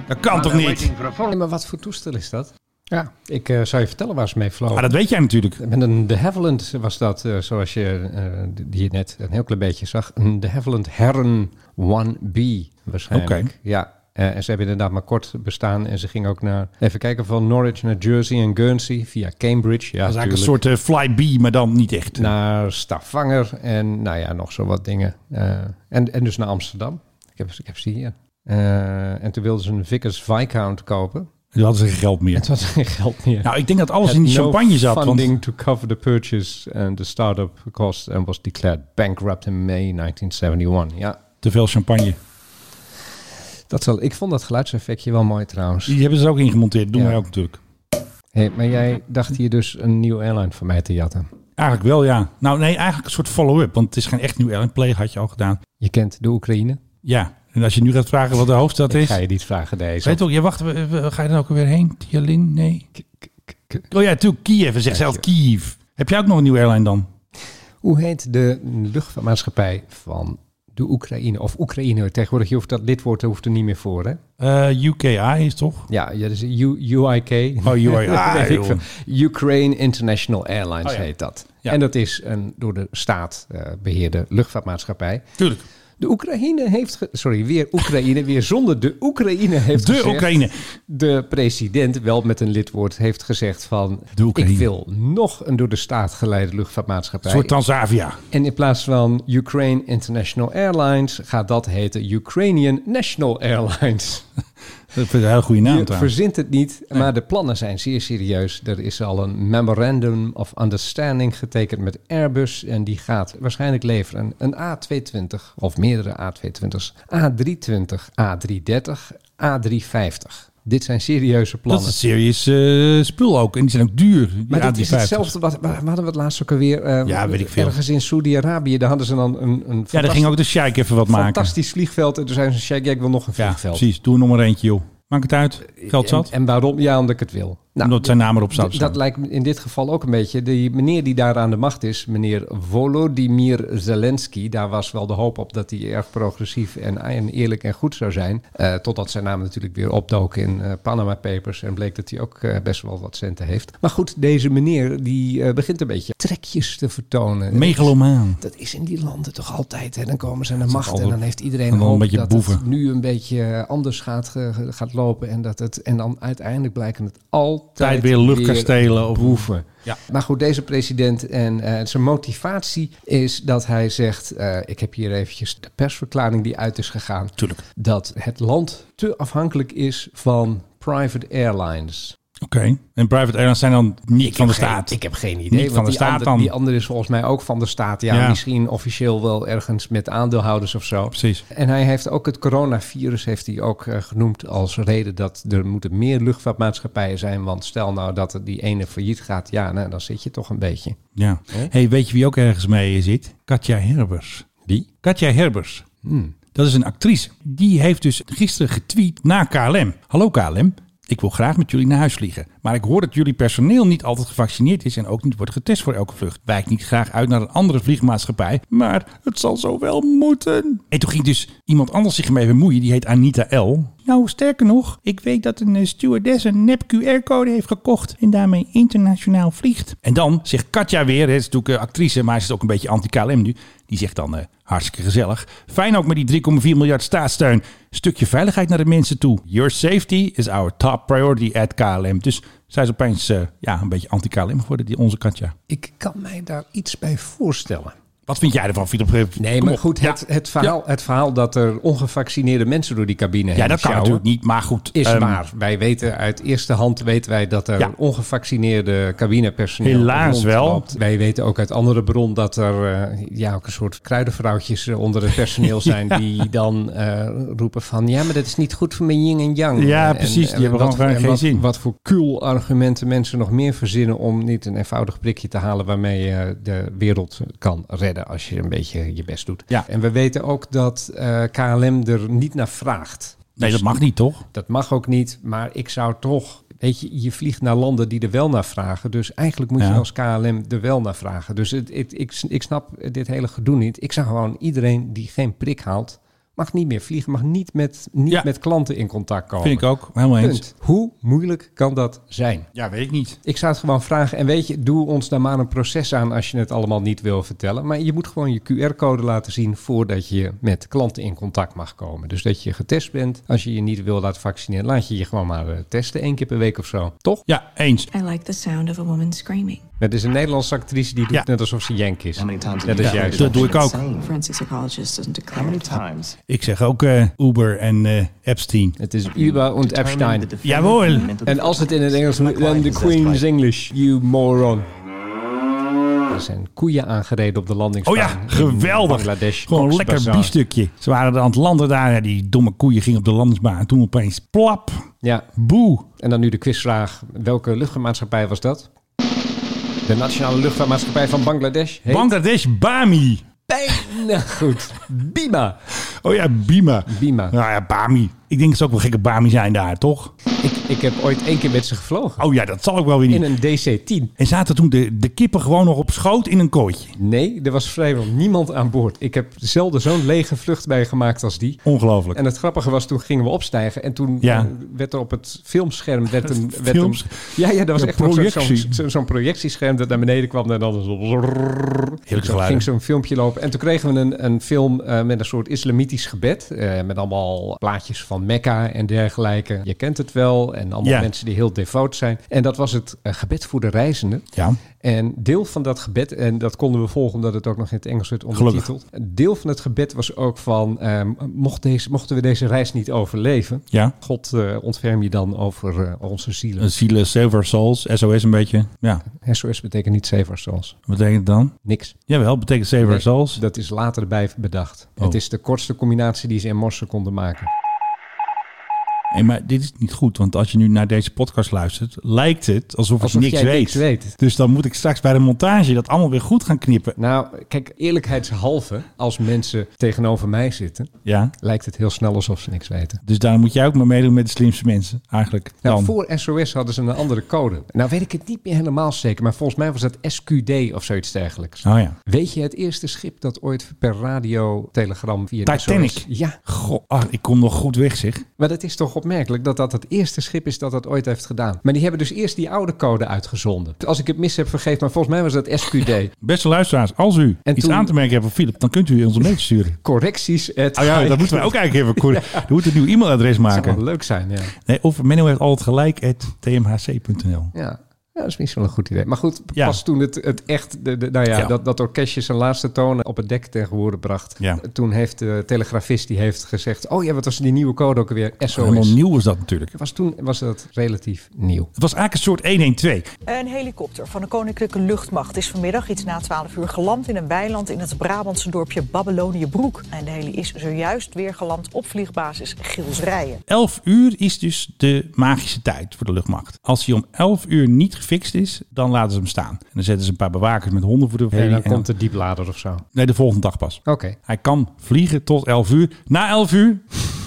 [SPEAKER 6] Dat kan
[SPEAKER 11] while
[SPEAKER 3] Nou,
[SPEAKER 6] toch
[SPEAKER 11] they're
[SPEAKER 6] niet?
[SPEAKER 11] waiting for a full
[SPEAKER 3] Hey, maar wat voor toestel is dat? Ja, ik eh, zou je vertellen waar ze mee vlogen.
[SPEAKER 6] Maar dat weet jij natuurlijk.
[SPEAKER 3] Met een De Havilland was dat, eh, zoals je eh, die je net een heel klein beetje zag. Een De Havilland Herren 1B waarschijnlijk.
[SPEAKER 6] Oké.
[SPEAKER 3] Ja. eh, en ze hebben inderdaad maar kort bestaan. En ze gingen ook naar, even kijken, van Norwich naar Jersey en Guernsey via Cambridge. Ja,
[SPEAKER 6] dat is eigenlijk een
[SPEAKER 3] tuurlijk.
[SPEAKER 6] soort eh, fly B, maar dan niet echt.
[SPEAKER 3] Naar Stavanger en nou ja, nog zo wat dingen. Eh, en, en dus naar Amsterdam. Ik heb, ik heb ze hier. Eh, en toen wilden ze een Vickers Viscount kopen.
[SPEAKER 6] Dan hadden ze geen geld meer.
[SPEAKER 3] Het was geen geld meer.
[SPEAKER 6] Nou, ik denk dat alles
[SPEAKER 3] Had
[SPEAKER 6] in die
[SPEAKER 3] no
[SPEAKER 6] champagne zat. Want
[SPEAKER 3] Funding to cover the purchase and the startup cost and was declared bankrupt in May 1971. Ja,
[SPEAKER 6] te veel champagne.
[SPEAKER 3] dat zal. Ik vond dat geluidseffectje wel mooi trouwens.
[SPEAKER 6] Die hebben ze er ook ingemonteerd. Doen
[SPEAKER 3] Ja.
[SPEAKER 6] wij ook natuurlijk.
[SPEAKER 3] Hey, maar jij dacht hier dus een nieuwe airline van mij te jatten.
[SPEAKER 6] Eigenlijk wel, ja. Nou, nee, eigenlijk een soort follow-up. Want het is geen echt nieuw Ellen Pleeg, had je al gedaan.
[SPEAKER 3] Je kent de Oekraïne.
[SPEAKER 6] Ja. En als je nu gaat vragen wat de hoofdstad
[SPEAKER 3] Ik
[SPEAKER 6] is.
[SPEAKER 3] ga je niet vragen deze.
[SPEAKER 6] Weet ook, je wacht, we- we- ga je dan ook weer heen? Tjalin? Nee. Oh ja, natuurlijk. Kiev. Ze zegt zelf Kiev. Heb jij ook nog een nieuwe airline dan?
[SPEAKER 3] Hoe heet de luchtvaartmaatschappij van de Oekraïne? Of Oekraïne tegenwoordig. Je hoeft dat lidwoord hoeft er niet meer voor, hè?
[SPEAKER 6] Eh, UKI is toch?
[SPEAKER 3] Ja, ja dus U, UIK.
[SPEAKER 6] Oh, UIK.
[SPEAKER 3] Dat weet ik
[SPEAKER 6] Ah,
[SPEAKER 3] veel. Ukraine International Airlines
[SPEAKER 6] Oh, ja.
[SPEAKER 3] heet dat.
[SPEAKER 6] Ja.
[SPEAKER 3] En dat is een door de staat eh, beheerde luchtvaartmaatschappij.
[SPEAKER 6] Tuurlijk.
[SPEAKER 3] De Oekraïne heeft... ge- Sorry, weer Oekraïne. weer zonder de Oekraïne heeft
[SPEAKER 6] De
[SPEAKER 3] gezegd-
[SPEAKER 6] Oekraïne.
[SPEAKER 3] De president, wel met een lidwoord, heeft gezegd van...
[SPEAKER 6] De Oekraïne.
[SPEAKER 3] Ik wil nog een door de staat geleide luchtvaartmaatschappij.
[SPEAKER 6] Een soort Transavia.
[SPEAKER 3] En in plaats van Ukraine International Airlines... gaat dat heten Ukrainian National Airlines.
[SPEAKER 6] Dat vind ik een hele goede naam
[SPEAKER 3] Je
[SPEAKER 6] trouwens.
[SPEAKER 3] verzint het niet, maar de plannen zijn zeer serieus. Er is al een memorandum of understanding getekend met Airbus. En die gaat waarschijnlijk leveren een A220 of meerdere A220's. A320, A330, A350. Dit zijn serieuze
[SPEAKER 6] Dat is
[SPEAKER 3] plannen.
[SPEAKER 6] een serieus eh, spul ook. En die zijn ook duur. Die
[SPEAKER 3] maar dat is
[SPEAKER 6] A350's.
[SPEAKER 3] hetzelfde. Wat, waar waar hadden we het laatst ook alweer? eh,
[SPEAKER 6] Ja, weet ik veel.
[SPEAKER 3] Ergens in Saudi-Arabië, daar hadden ze dan een, een
[SPEAKER 6] Ja, daar
[SPEAKER 3] fantastisch-
[SPEAKER 6] ging ook de Sheikh even wat maken.
[SPEAKER 3] fantastisch vliegveld. En toen zei ze, Sheikh, ja, ik wil nog een
[SPEAKER 6] Ja,
[SPEAKER 3] vliegveld.
[SPEAKER 6] precies. Doe er nog maar eentje, joh. Maakt het uit. Geld zat.
[SPEAKER 3] Eh, En, en waarom? Ja, omdat ik het wil. Nou,
[SPEAKER 6] Omdat zijn naam erop staat.
[SPEAKER 3] D- Dat lijkt me in dit geval ook een beetje. Die meneer die daar aan de macht is, meneer Volodymyr Zelensky, daar was wel de hoop op dat hij erg progressief en, en eerlijk en goed zou zijn. Eh, totdat zijn naam natuurlijk weer opdook in eh, Panama Papers en bleek dat hij ook eh, best wel wat centen heeft. Maar goed, deze meneer die eh, begint een beetje trekjes te vertonen.
[SPEAKER 6] Megalomaan.
[SPEAKER 3] Dat is in die landen toch altijd. Hè? Dan komen ze aan de macht en
[SPEAKER 6] altijd-
[SPEAKER 3] dan heeft iedereen
[SPEAKER 6] en dan een
[SPEAKER 3] hoop
[SPEAKER 6] beetje
[SPEAKER 3] dat het
[SPEAKER 6] boeven.
[SPEAKER 3] nu een beetje anders gaat, eh, gaat lopen. En, dat het, en dan uiteindelijk blijken het altijd
[SPEAKER 6] Tijd weer luchtkastelen. Of...
[SPEAKER 3] proeven.
[SPEAKER 6] Ja.
[SPEAKER 3] Maar goed, deze president en eh, zijn motivatie is dat hij zegt... eh, ik heb hier eventjes de persverklaring die uit is gegaan...
[SPEAKER 6] Tuurlijk.
[SPEAKER 3] dat het land te afhankelijk is van private airlines.
[SPEAKER 6] Oké. En private airlines zijn dan niet van de
[SPEAKER 3] heb geen-
[SPEAKER 6] staat.
[SPEAKER 3] ik heb geen idee.
[SPEAKER 6] Niet
[SPEAKER 3] want
[SPEAKER 6] van de
[SPEAKER 3] die
[SPEAKER 6] staat
[SPEAKER 3] ander-
[SPEAKER 6] dan.
[SPEAKER 3] Die andere is volgens mij ook van de staat. Ja,
[SPEAKER 6] Ja.
[SPEAKER 3] misschien officieel wel ergens met aandeelhouders of zo.
[SPEAKER 6] Precies.
[SPEAKER 3] En hij heeft ook het coronavirus heeft hij ook eh, genoemd als reden dat er moeten meer luchtvaartmaatschappijen zijn. Want stel nou dat er die ene failliet gaat, ja, nou, dan zit je toch een beetje.
[SPEAKER 6] Ja. Hey, weet je wie ook ergens mee zit? Katja Herbers.
[SPEAKER 3] Wie?
[SPEAKER 6] Katja Herbers. Dat is een actrice. Die heeft dus gisteren getweet naar KLM. Hallo KLM. Ik wil graag met jullie naar huis vliegen. Maar ik hoor dat jullie personeel niet altijd gevaccineerd is en ook niet wordt getest voor elke vlucht. Wijk niet graag uit naar een andere vliegmaatschappij, maar het zal zo wel moeten. En toen ging dus iemand anders zich mee bemoeien, die heet Anita L. Nou, sterker nog, ik weet dat een eh, stewardess een nep QR-code heeft gekocht en daarmee internationaal vliegt. En dan zegt Katja weer, hè, ze is natuurlijk eh, actrice, maar ze is ook een beetje anti-KLM nu. Die zegt dan, eh, hartstikke gezellig. Fijn ook met die 3,4 miljard staatssteun. Stukje veiligheid naar de mensen toe. Your safety is our top priority at KLM. Dus zij is opeens eh, ja, een beetje anti-KLM geworden, die onze Katja.
[SPEAKER 3] Ik kan mij daar iets bij voorstellen.
[SPEAKER 6] Wat vind jij ervan, Philip? Eh,
[SPEAKER 3] Nee,
[SPEAKER 6] kom
[SPEAKER 3] maar
[SPEAKER 6] op.
[SPEAKER 3] goed, het,
[SPEAKER 6] Ja.
[SPEAKER 3] het, verhaal, het verhaal dat er ongevaccineerde mensen door die cabine heen
[SPEAKER 6] Ja, dat kan
[SPEAKER 3] sjouwen,
[SPEAKER 6] natuurlijk niet, maar goed.
[SPEAKER 3] Is
[SPEAKER 6] ehm,
[SPEAKER 3] waar. Wij weten uit eerste hand weten wij dat er
[SPEAKER 6] Ja.
[SPEAKER 3] ongevaccineerde cabinepersoneel
[SPEAKER 6] Helaas
[SPEAKER 3] rondloopt. Wij weten ook uit andere bron dat er eh, ja, ook een soort kruidenvrouwtjes eh, onder het personeel zijn die dan eh, roepen van ja, maar dat is niet goed voor mijn yin en yang.
[SPEAKER 6] Ja,
[SPEAKER 3] En-
[SPEAKER 6] precies. Die
[SPEAKER 3] en
[SPEAKER 6] hebben
[SPEAKER 3] wat
[SPEAKER 6] gewoon
[SPEAKER 3] voor- en
[SPEAKER 6] geen
[SPEAKER 3] wat-
[SPEAKER 6] zin.
[SPEAKER 3] Wat voor kul argumenten mensen nog meer verzinnen om niet een eenvoudig prikje te halen waarmee je de wereld kan redden als je een beetje je best doet.
[SPEAKER 6] Ja.
[SPEAKER 3] En we weten ook dat eh, KLM er niet naar vraagt.
[SPEAKER 6] Nee,
[SPEAKER 3] Dus
[SPEAKER 6] dat mag niet, toch?
[SPEAKER 3] dat mag ook niet, maar ik zou toch... Weet je, je vliegt naar landen die er wel naar vragen. Dus eigenlijk moet je
[SPEAKER 6] Ja.
[SPEAKER 3] als KLM er wel naar vragen. Dus het, het- ik, ik snap dit hele gedoe niet. Ik zou gewoon iedereen die geen prik haalt... mag niet meer vliegen, mag niet met, niet
[SPEAKER 6] Ja.
[SPEAKER 3] met klanten in contact komen.
[SPEAKER 6] Vind ik ook. Helemaal eens.
[SPEAKER 3] Punt. Hoe moeilijk kan dat zijn?
[SPEAKER 6] Ja, weet ik niet.
[SPEAKER 3] Ik zou het gewoon vragen. En weet je, doe ons daar maar een proces aan als je het allemaal niet wil vertellen. Maar je moet gewoon je QR-code laten zien voordat je met klanten in contact mag komen. Dus dat je getest bent. Als je je niet wil laten vaccineren, laat je je gewoon maar eh, testen. één keer per week of zo. Toch?
[SPEAKER 6] Ja, eens.
[SPEAKER 12] I like the sound of a woman screaming.
[SPEAKER 3] Het is een Nederlandse actrice die doet
[SPEAKER 6] Ja.
[SPEAKER 3] net alsof ze Jank is.
[SPEAKER 6] Dat
[SPEAKER 3] Net als jij.
[SPEAKER 6] Dus Dat doe ik ook.
[SPEAKER 12] Forensic psychologist doesn't declare it.
[SPEAKER 6] Ik zeg ook eh, Uber en eh, Epstein.
[SPEAKER 3] Het is Uber en Epstein.
[SPEAKER 6] Jawohl.
[SPEAKER 3] En als het in het Engels moet, dan de Queen's English, you moron. Er zijn koeien aangereden op de
[SPEAKER 6] Oh
[SPEAKER 3] landingsbaan.
[SPEAKER 6] ja,
[SPEAKER 3] in
[SPEAKER 6] geweldig.
[SPEAKER 3] Bangladesh,
[SPEAKER 6] Gewoon een lekker
[SPEAKER 3] Coxbazaar.
[SPEAKER 6] biefstukje. Ze waren aan het landen daar. Ja, die domme koeien gingen op de landingsbaan. En toen opeens plap.
[SPEAKER 3] Ja,
[SPEAKER 6] Boe.
[SPEAKER 3] En dan nu de quizvraag. Welke luchtvaartmaatschappij was dat? De Nationale Luchtvaartmaatschappij van Bangladesh heet...
[SPEAKER 6] Bangladesh Bami.
[SPEAKER 3] Bijna goed. Bima.
[SPEAKER 6] Oh ja, Bima.
[SPEAKER 3] Bima.
[SPEAKER 6] Nou ja, Bami. Ik denk dat ze ook wel gekke Bami zijn daar, toch?
[SPEAKER 3] Ik, ik heb ooit één keer met ze gevlogen.
[SPEAKER 6] Oh ja, dat zal ik wel weer niet.
[SPEAKER 3] In een DC-10.
[SPEAKER 6] En zaten toen de, de kippen gewoon nog op schoot in een kooitje.
[SPEAKER 3] Nee, er was vrijwel niemand aan boord. Ik heb zelden zo'n lege vlucht meegemaakt als die.
[SPEAKER 6] Ongelooflijk.
[SPEAKER 3] En het grappige was, toen gingen we opstijgen. En toen
[SPEAKER 6] Ja.
[SPEAKER 3] eh, werd er op het filmscherm... Werd een, werd
[SPEAKER 6] Films-
[SPEAKER 3] een, ja, ja, dat was
[SPEAKER 6] Een
[SPEAKER 3] echt nog zo'n-
[SPEAKER 6] projectie.
[SPEAKER 3] zo'n zo'n- zo'n projectiescherm dat naar beneden kwam. En dan zo...
[SPEAKER 6] Heerlijk
[SPEAKER 3] Zo
[SPEAKER 6] geluid.
[SPEAKER 3] ging zo'n filmpje lopen. En toen kregen we een, een film eh, met een soort islamitisch gebed. eh, met allemaal plaatjes van Mekka en dergelijke. Je kent het wel. En allemaal
[SPEAKER 6] Ja.
[SPEAKER 3] mensen die heel devoot zijn. En dat was het eh, gebed voor de reizenden.
[SPEAKER 6] Ja.
[SPEAKER 3] En deel van dat gebed, en dat konden we volgen omdat het ook nog in het Engels werd ondertiteld. Een Deel van het gebed was ook van, eh, mocht deze, mochten we deze reis niet overleven,
[SPEAKER 6] Ja.
[SPEAKER 3] God eh, ontferm je dan over eh, onze zielen.
[SPEAKER 6] Zielen, Silver Souls, SOS een beetje. Ja,
[SPEAKER 3] SOS betekent niet save ourselves.
[SPEAKER 6] wat betekent het dan?
[SPEAKER 3] Niks.
[SPEAKER 6] Jawel, betekent Save Our
[SPEAKER 3] Nee,
[SPEAKER 6] Souls.
[SPEAKER 3] Dat is later erbij bedacht.
[SPEAKER 6] Oh.
[SPEAKER 3] Het is de kortste combinatie die ze in morsen konden maken.
[SPEAKER 6] Hey, maar dit is niet goed, want als je nu naar deze podcast luistert, lijkt het alsof,
[SPEAKER 3] Alsof
[SPEAKER 6] ik niks
[SPEAKER 3] jij
[SPEAKER 6] weet.
[SPEAKER 3] niks weet.
[SPEAKER 6] Dus dan moet ik straks bij de montage dat allemaal weer goed gaan knippen.
[SPEAKER 3] Nou, kijk, eerlijkheidshalve, als mensen tegenover mij zitten,
[SPEAKER 6] Ja,
[SPEAKER 3] lijkt het heel snel alsof ze niks weten.
[SPEAKER 6] dus daarom moet jij ook maar meedoen met de slimste mensen, eigenlijk.
[SPEAKER 3] Nou,
[SPEAKER 6] dan.
[SPEAKER 3] voor SOS hadden ze een andere code. Nou weet ik het niet meer helemaal zeker, maar volgens mij was dat SQD of zoiets dergelijks.
[SPEAKER 6] Oh ja.
[SPEAKER 3] Weet je het eerste schip dat ooit per radio, telegram via
[SPEAKER 6] Titanic.
[SPEAKER 3] SOS Ja,
[SPEAKER 6] Goh, ach, ik kom nog goed weg, zeg.
[SPEAKER 3] maar dat is toch opmerkelijk dat dat het eerste schip is dat dat ooit heeft gedaan. Maar die hebben dus eerst die oude code uitgezonden. Als ik het mis heb, vergeet maar volgens mij was dat SQD.
[SPEAKER 6] Beste luisteraars, als u
[SPEAKER 3] En
[SPEAKER 6] iets
[SPEAKER 3] toen-
[SPEAKER 6] aan te merken hebt op Philip, dan kunt u ons een mailtje sturen.
[SPEAKER 3] Correcties. Het
[SPEAKER 6] Oh ja, dat moeten wij ook eigenlijk even... correct- We moeten een nieuw e-mailadres
[SPEAKER 3] zou wel
[SPEAKER 6] maken.
[SPEAKER 3] leuk zijn, ja.
[SPEAKER 6] Nee, of Menno heeft altijd gelijk, at tmhc.nl.
[SPEAKER 3] ja. Ja, dat is misschien wel een goed idee. Maar goed, pas toen het, het echt, de, de- nou ja,
[SPEAKER 6] Ja.
[SPEAKER 3] Dat, dat orkestje zijn laatste tonen op het dek ten gehore bracht.
[SPEAKER 6] Ja.
[SPEAKER 3] Toen heeft de telegrafist die heeft gezegd, oh ja, wat was die nieuwe code ook weer? SOS.
[SPEAKER 6] Helemaal nieuw was dat natuurlijk.
[SPEAKER 3] Was toen was dat relatief nieuw.
[SPEAKER 6] Het was eigenlijk een soort 112.
[SPEAKER 13] Een helikopter van de Koninklijke Luchtmacht is vanmiddag iets na 12 uur geland in een weiland in het Brabantse dorpje Babyloniëbroek. En de heli is zojuist weer geland op vliegbasis Gilsrijen.
[SPEAKER 6] 11 uur is dus de magische tijd voor de luchtmacht. Als hij om 11 uur niet gefixt is, dan laten ze hem staan. En dan zetten ze een paar bewakers met honden voor de
[SPEAKER 3] En dan
[SPEAKER 6] heli
[SPEAKER 3] komt Oh. de dieplader of zo.
[SPEAKER 6] Nee, de volgende dag pas.
[SPEAKER 3] Oké.
[SPEAKER 6] Hij kan vliegen tot 11 uur. Na 11 uur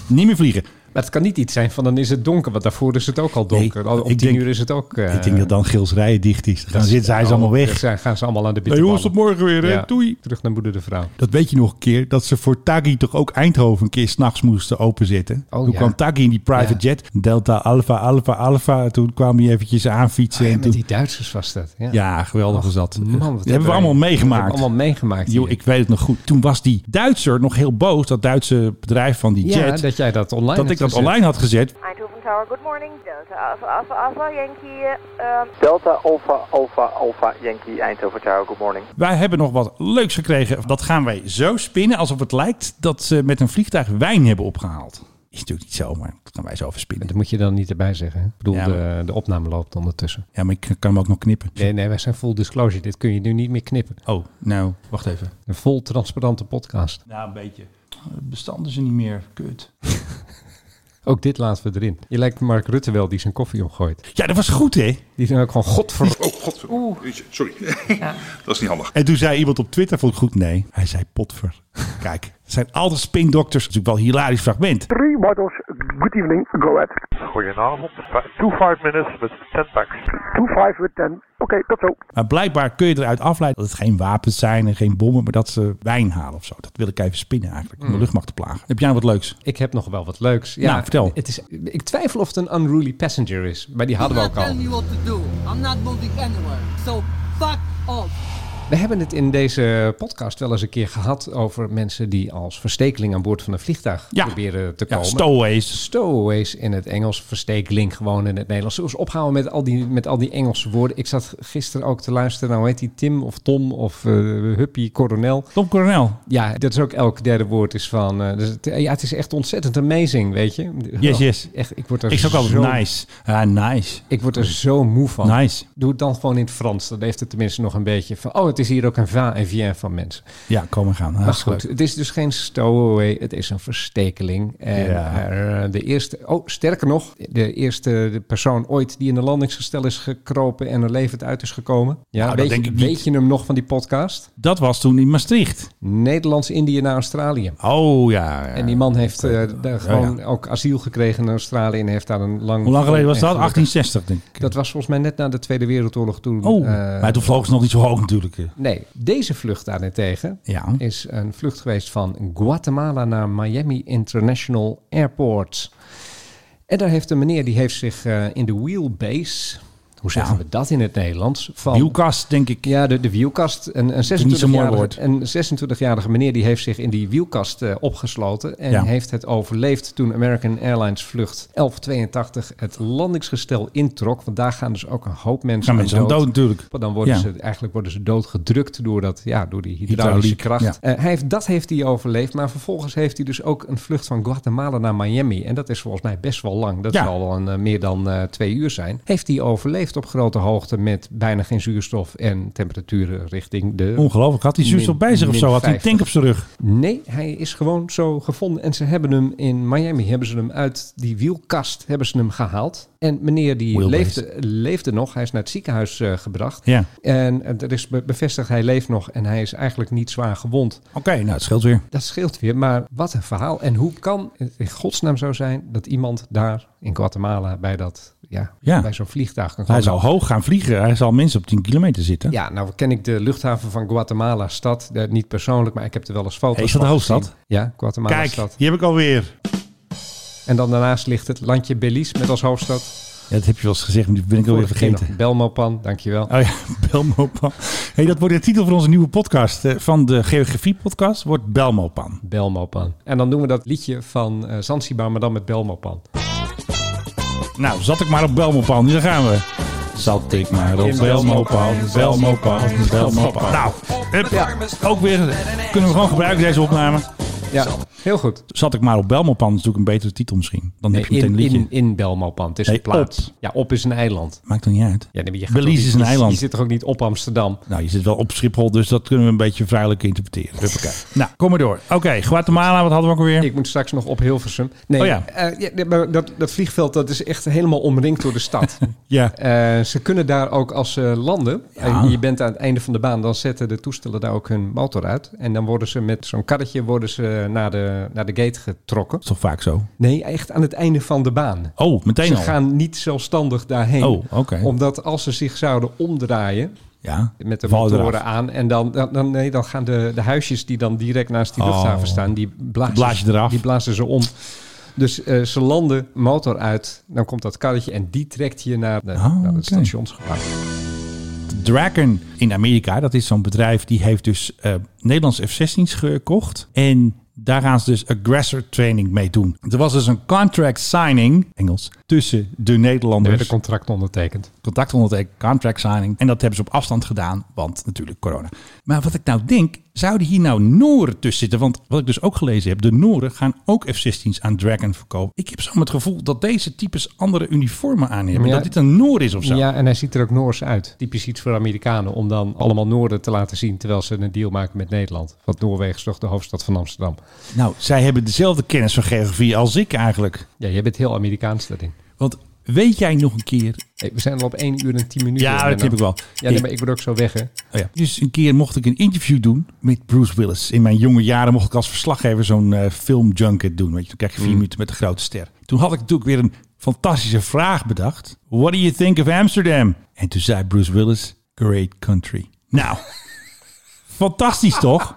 [SPEAKER 6] niet meer vliegen.
[SPEAKER 3] Maar het kan niet iets zijn van dan is het donker, want daarvoor is het ook al donker.
[SPEAKER 6] Nee,
[SPEAKER 3] Al Om
[SPEAKER 6] ik
[SPEAKER 3] tien
[SPEAKER 6] denk-
[SPEAKER 3] uur is het ook... eh,
[SPEAKER 6] ik denk dat dan Gils Rijen dicht is. Dan zitten zij ze allemaal weg.
[SPEAKER 3] Dan gaan ze allemaal aan de bitte
[SPEAKER 6] Hey, jongens,
[SPEAKER 3] ballen.
[SPEAKER 6] tot morgen weer, hè? Doei.
[SPEAKER 3] Terug naar moeder de vrouw.
[SPEAKER 6] Dat weet je nog een keer, dat ze voor Taggi toch ook Eindhoven een keer s'nachts moesten openzetten. toen
[SPEAKER 3] Oh, ja.
[SPEAKER 6] kwam Taggi in die private jet, Delta Alpha Alpha Alpha. Toen kwam hij eventjes aanfietsen. en
[SPEAKER 3] Oh, Met
[SPEAKER 6] toen...
[SPEAKER 3] die Duitsers was dat. Ja,
[SPEAKER 6] Ja, geweldig was dat.
[SPEAKER 3] Man, wat
[SPEAKER 6] dat hebben we allemaal meegemaakt.
[SPEAKER 3] hebben we allemaal meegemaakt.
[SPEAKER 6] Yo, ik weet het nog goed. Toen was die Duitser nog heel boos, dat Duitse bedrijf van die
[SPEAKER 3] Ja,
[SPEAKER 6] jet.
[SPEAKER 3] dat jij dat online
[SPEAKER 6] Dat
[SPEAKER 3] had
[SPEAKER 6] ik dat
[SPEAKER 3] gezet.
[SPEAKER 6] online had gezet.
[SPEAKER 14] Eindhoven Tower, good morning. Delta Alpha Alpha Alpha Yankee. eh, um,
[SPEAKER 1] Delta Alpha Alpha Alpha Yankee Eindhoven Tower, good morning.
[SPEAKER 6] Wij hebben nog wat leuks gekregen. Dat gaan wij zo spinnen alsof het lijkt dat ze met een vliegtuig wijn hebben opgehaald. Is natuurlijk niet zo, maar dat gaan wij zo verspinnen.
[SPEAKER 3] Dat moet je dan niet erbij zeggen. hè? Ik bedoel,
[SPEAKER 6] Ja,
[SPEAKER 3] de, de opname loopt ondertussen.
[SPEAKER 6] Ja, maar ik kan hem ook nog knippen.
[SPEAKER 3] Nee, nee, wij zijn full disclosure. Dit kun je nu niet meer knippen.
[SPEAKER 6] Oh, nou, wacht even.
[SPEAKER 3] Een vol transparante podcast.
[SPEAKER 6] Nou, een beetje. Bestanden ze niet meer, kut.
[SPEAKER 3] Ook dit laten we erin. Je lijkt Mark Rutte wel die zijn koffie omgooit.
[SPEAKER 6] Ja, dat was goed, hè?
[SPEAKER 3] Die zijn ook gewoon godver...
[SPEAKER 5] Oh, god. Sorry. Dat is niet handig.
[SPEAKER 6] En toen zei iemand op Twitter, vond ik goed, nee. Hij zei potver. Kijk, het zijn altijd spindokters. Dat is natuurlijk wel een hilarisch fragment.
[SPEAKER 15] Three models, good evening, go ahead.
[SPEAKER 10] Goedenavond. Two five minutes with ten packs.
[SPEAKER 15] Two five with ten. Oké, tot zo.
[SPEAKER 6] Maar blijkbaar kun je eruit afleiden dat het geen wapens zijn en geen bommen, maar dat ze wijn halen of zo. Dat wil ik even spinnen eigenlijk, om de
[SPEAKER 3] Hmm.
[SPEAKER 6] luchtmacht te plagen. Heb jij wat leuks?
[SPEAKER 3] Ik heb nog wel wat leuks. Ja,
[SPEAKER 6] Nou, vertel.
[SPEAKER 3] Het is, ik twijfel of het een unruly passenger is. Maar die hadden we
[SPEAKER 9] not
[SPEAKER 3] ook al.
[SPEAKER 9] telling me what to do. I'm not moving anywhere. So fuck off.
[SPEAKER 3] We hebben het in deze podcast wel eens een keer gehad over mensen die als verstekeling aan boord van een vliegtuig proberen te
[SPEAKER 6] Ja,
[SPEAKER 3] komen.
[SPEAKER 6] stowaways.
[SPEAKER 3] Stowaways in het Engels, verstekeling gewoon in het Nederlands. Zullen we eens ophouden met al, die, met al die Engelse woorden? Ik zat gisteren ook te luisteren, nou heet die Tim of Tom of eh Huppie Coronel.
[SPEAKER 6] Tom Coronel.
[SPEAKER 3] Ja, dat is ook elk derde woord is van... eh, dus het, ja, het is echt ontzettend amazing, weet je?
[SPEAKER 6] Yes,
[SPEAKER 3] Oh,
[SPEAKER 6] yes.
[SPEAKER 3] Echt, ik word er
[SPEAKER 6] Ik zeg ook altijd
[SPEAKER 3] zo- Oh.
[SPEAKER 6] nice. Ja, nice.
[SPEAKER 3] Ik word er zo moe van.
[SPEAKER 6] Nice.
[SPEAKER 3] Doe het dan gewoon in het Frans. Dan heeft het tenminste nog een beetje van... Oh, het is hier ook een va en vien van mensen.
[SPEAKER 6] Ja, komen gaan.
[SPEAKER 3] maar
[SPEAKER 6] Hartstikke
[SPEAKER 3] goed, het is dus geen stowaway. Het is een verstekeling. En
[SPEAKER 6] Ja.
[SPEAKER 3] eh, de eerste... Oh, sterker nog. De eerste persoon ooit die in een landingsgestel is gekropen... en er levend uit is gekomen. Ja,
[SPEAKER 6] Nou, dat
[SPEAKER 3] weet, je-
[SPEAKER 6] denk ik niet.
[SPEAKER 3] weet je hem nog van die podcast?
[SPEAKER 6] Dat was toen in Maastricht.
[SPEAKER 3] Nederlands-Indië naar Australië.
[SPEAKER 6] Oh ja.
[SPEAKER 3] En die man heeft eh, daar gewoon ook asiel gekregen in Australië... en heeft daar een lang...
[SPEAKER 6] Hoe lang geleden was
[SPEAKER 3] en
[SPEAKER 6] dat?
[SPEAKER 3] gelukkig-
[SPEAKER 6] 1860 denk ik.
[SPEAKER 3] Dat was volgens mij net na de Tweede Wereldoorlog toen.
[SPEAKER 6] Oh,
[SPEAKER 3] eh, Oh.
[SPEAKER 6] maar toen vlogen ze nog niet zo hoog natuurlijk.
[SPEAKER 3] Nee, deze vlucht daarentegen
[SPEAKER 6] Ja.
[SPEAKER 3] is een vlucht geweest van Guatemala naar Miami International Airport. En daar heeft een meneer, die heeft zich eh, in de wheelbase... Hoe zeggen we dat in het Nederlands? Van,
[SPEAKER 6] Wielkast, denk ik.
[SPEAKER 3] Ja, de, de wielkast. Een, een,
[SPEAKER 6] is niet zo'n mooi
[SPEAKER 3] 26-jarige, een 26-jarige meneer die heeft zich in die wielkast eh, opgesloten. En
[SPEAKER 6] Ja.
[SPEAKER 3] heeft het overleefd toen American Airlines vlucht 1182 het landingsgestel introk. Want daar gaan dus ook een hoop mensen
[SPEAKER 6] Gaan mensen aan dood natuurlijk.
[SPEAKER 3] want dan worden
[SPEAKER 6] Ja.
[SPEAKER 3] ze, eigenlijk worden ze doodgedrukt door, dat, ja, door die hydraulische
[SPEAKER 6] Hydrauliek,
[SPEAKER 3] kracht.
[SPEAKER 6] ja.
[SPEAKER 3] Eh, hij heeft, dat heeft hij overleefd. Maar vervolgens heeft hij dus ook een vlucht van Guatemala naar Miami. En dat is volgens mij best wel lang. Dat
[SPEAKER 6] Ja.
[SPEAKER 3] zal wel een, eh, meer dan eh, twee uur zijn. Heeft hij overleefd op grote hoogte met bijna geen zuurstof en temperaturen richting de...
[SPEAKER 6] Ongelooflijk. Had hij zuurstof
[SPEAKER 3] min-
[SPEAKER 6] bij zich of
[SPEAKER 3] min
[SPEAKER 6] zo? Had hij een
[SPEAKER 3] 50.
[SPEAKER 6] tank op zijn rug?
[SPEAKER 3] Nee, hij is gewoon zo gevonden. En ze hebben hem in Miami, hebben ze hem uit die wielkast, hebben ze hem gehaald. En meneer die
[SPEAKER 6] Wheelbase.
[SPEAKER 3] leefde, leefde nog. Hij is naar het ziekenhuis eh, gebracht.
[SPEAKER 6] Ja.
[SPEAKER 3] En eh, er is be- bevestigd, hij leeft nog en hij is eigenlijk niet zwaar gewond.
[SPEAKER 6] Oké, nou het scheelt weer.
[SPEAKER 3] Dat scheelt weer, maar wat een verhaal. En hoe kan het in godsnaam zo zijn dat iemand daar in Guatemala bij, dat, ja,
[SPEAKER 6] Ja.
[SPEAKER 3] bij zo'n vliegtuig kan
[SPEAKER 6] Hij
[SPEAKER 3] komen?
[SPEAKER 6] zal hoog gaan vliegen. Hij zal mensen op 10 kilometer zitten.
[SPEAKER 3] Ja, nou ken ik de luchthaven van Guatemala stad. eh, niet persoonlijk, maar ik heb er wel eens foto's
[SPEAKER 6] Hey, is dat de
[SPEAKER 3] van
[SPEAKER 6] hoofdstad?
[SPEAKER 3] gezien. Ja, Guatemala
[SPEAKER 6] Kijk,
[SPEAKER 3] stad.
[SPEAKER 6] die heb ik alweer.
[SPEAKER 3] En dan daarnaast ligt het landje Belize met als hoofdstad.
[SPEAKER 6] Ja, dat heb je wel eens gezegd, maar die ben ik alweer
[SPEAKER 3] Vorige keer
[SPEAKER 6] vergeten.
[SPEAKER 3] nog Belmopan, dankjewel.
[SPEAKER 6] Oh ja, Belmopan. hey, dat wordt de titel van onze nieuwe podcast. eh, Van de geografie-podcast wordt Belmopan.
[SPEAKER 3] Belmopan. En dan doen we dat liedje van eh Zanzibar, maar dan met Belmopan.
[SPEAKER 6] Nou, zat ik maar op Belmopan. Hier gaan we. Zat ik maar op Belmopan, Belmopan, Belmopan. Nou, hup, ook weer, kunnen we gewoon gebruiken deze opname.
[SPEAKER 3] Ja, heel goed.
[SPEAKER 6] Zat ik maar op Belmopan, is natuurlijk een betere titel misschien. Dan heb je
[SPEAKER 3] Nee,
[SPEAKER 6] meteen
[SPEAKER 3] in,
[SPEAKER 6] een liedje.
[SPEAKER 3] in, in Belmopan. Het is
[SPEAKER 6] Nee,
[SPEAKER 3] een plaats. Ja, op is een eiland.
[SPEAKER 6] Maakt toch niet uit?
[SPEAKER 3] Ja, nee, maar je gaat
[SPEAKER 6] Belize
[SPEAKER 3] toch niet-
[SPEAKER 6] is een
[SPEAKER 3] je-
[SPEAKER 6] eiland.
[SPEAKER 3] Je zit toch ook niet op Amsterdam?
[SPEAKER 6] Nou, je zit wel op Schiphol, dus dat kunnen we een beetje vrijelijk interpreteren. Huppakee. nou, kom maar door. Oké, Guatemala, wat hadden we ook alweer?
[SPEAKER 3] Ik moet straks nog op Hilversum. Nee,
[SPEAKER 6] Oh ja.
[SPEAKER 3] eh, ja, nee, maar dat, dat vliegveld dat is echt helemaal omringd door de stad.
[SPEAKER 6] Ja.
[SPEAKER 3] Eh, ze kunnen daar ook als ze landen, en je bent aan het einde van de baan, dan zetten de toestellen daar ook hun motor uit. En dan worden ze met zo'n karretje worden ze naar, de, naar de gate getrokken.
[SPEAKER 6] Dat is toch vaak zo?
[SPEAKER 3] Nee, echt aan het einde van de baan.
[SPEAKER 6] Oh, meteen
[SPEAKER 3] ze
[SPEAKER 6] al.
[SPEAKER 3] gaan niet zelfstandig daarheen.
[SPEAKER 6] Oh, oké.
[SPEAKER 3] Omdat als ze zich zouden omdraaien
[SPEAKER 6] Ja,
[SPEAKER 3] met de
[SPEAKER 6] vallen
[SPEAKER 3] motoren
[SPEAKER 6] eraf.
[SPEAKER 3] aan... en dan, dan, dan- nee, dan gaan de, de huisjes die dan direct naast die
[SPEAKER 6] Oh.
[SPEAKER 3] luchthaven staan... die blazen,
[SPEAKER 6] Blaas je eraf.
[SPEAKER 3] die blazen ze om. Dus eh, ze landen, motor uit, dan komt dat karretje... en die trekt je naar,
[SPEAKER 6] Oh,
[SPEAKER 3] de, naar het stationsgebouw.
[SPEAKER 6] Draken in Amerika, dat is zo'n bedrijf, die heeft dus eh, Nederlands F-16's gekocht. En daar gaan ze dus aggressor training mee doen. Er was dus een contract signing, Engels, tussen de
[SPEAKER 3] Er
[SPEAKER 6] Nederlanders.
[SPEAKER 3] werd een contract ondertekend.
[SPEAKER 6] Contact ondertekend, contract signing. En dat hebben ze op afstand gedaan, want natuurlijk corona. Maar wat ik nou denk, zouden hier nou Nooren tussen zitten? Want wat ik dus ook gelezen heb, de Nooren gaan ook F-16's aan Dragon verkopen. Ik heb zo het gevoel dat deze types andere uniformen aan hebben.
[SPEAKER 3] Ja.
[SPEAKER 6] Dat dit een Noor is of zo.
[SPEAKER 3] Ja, en hij ziet er ook Noors uit. Typisch iets voor Amerikanen om dan allemaal Noorden te laten zien... terwijl ze een deal maken met Nederland. Want Noorwegen is toch de hoofdstad van Amsterdam.
[SPEAKER 6] Nou, zij hebben dezelfde kennis van geografie als ik eigenlijk.
[SPEAKER 3] Ja, jij bent heel Amerikaans daarin.
[SPEAKER 6] Want weet jij nog een keer...
[SPEAKER 3] Hey, we zijn al op 1 uur en 10 minuten.
[SPEAKER 6] Ja, dat
[SPEAKER 3] Menno.
[SPEAKER 6] heb ik wel.
[SPEAKER 3] Ja, nee, maar ik word ook zo weg, hè?
[SPEAKER 6] Oh ja. Dus een keer mocht ik een interview doen met Bruce Willis. In mijn jonge jaren mocht ik als verslaggever zo'n eh, filmjunket doen. Weet je, dan krijg je vier
[SPEAKER 3] Mm.
[SPEAKER 6] minuten met de grote ster. Toen had ik natuurlijk weer een fantastische vraag bedacht. What do you think of Amsterdam? En toen zei Bruce Willis, great country. Nou, fantastisch toch?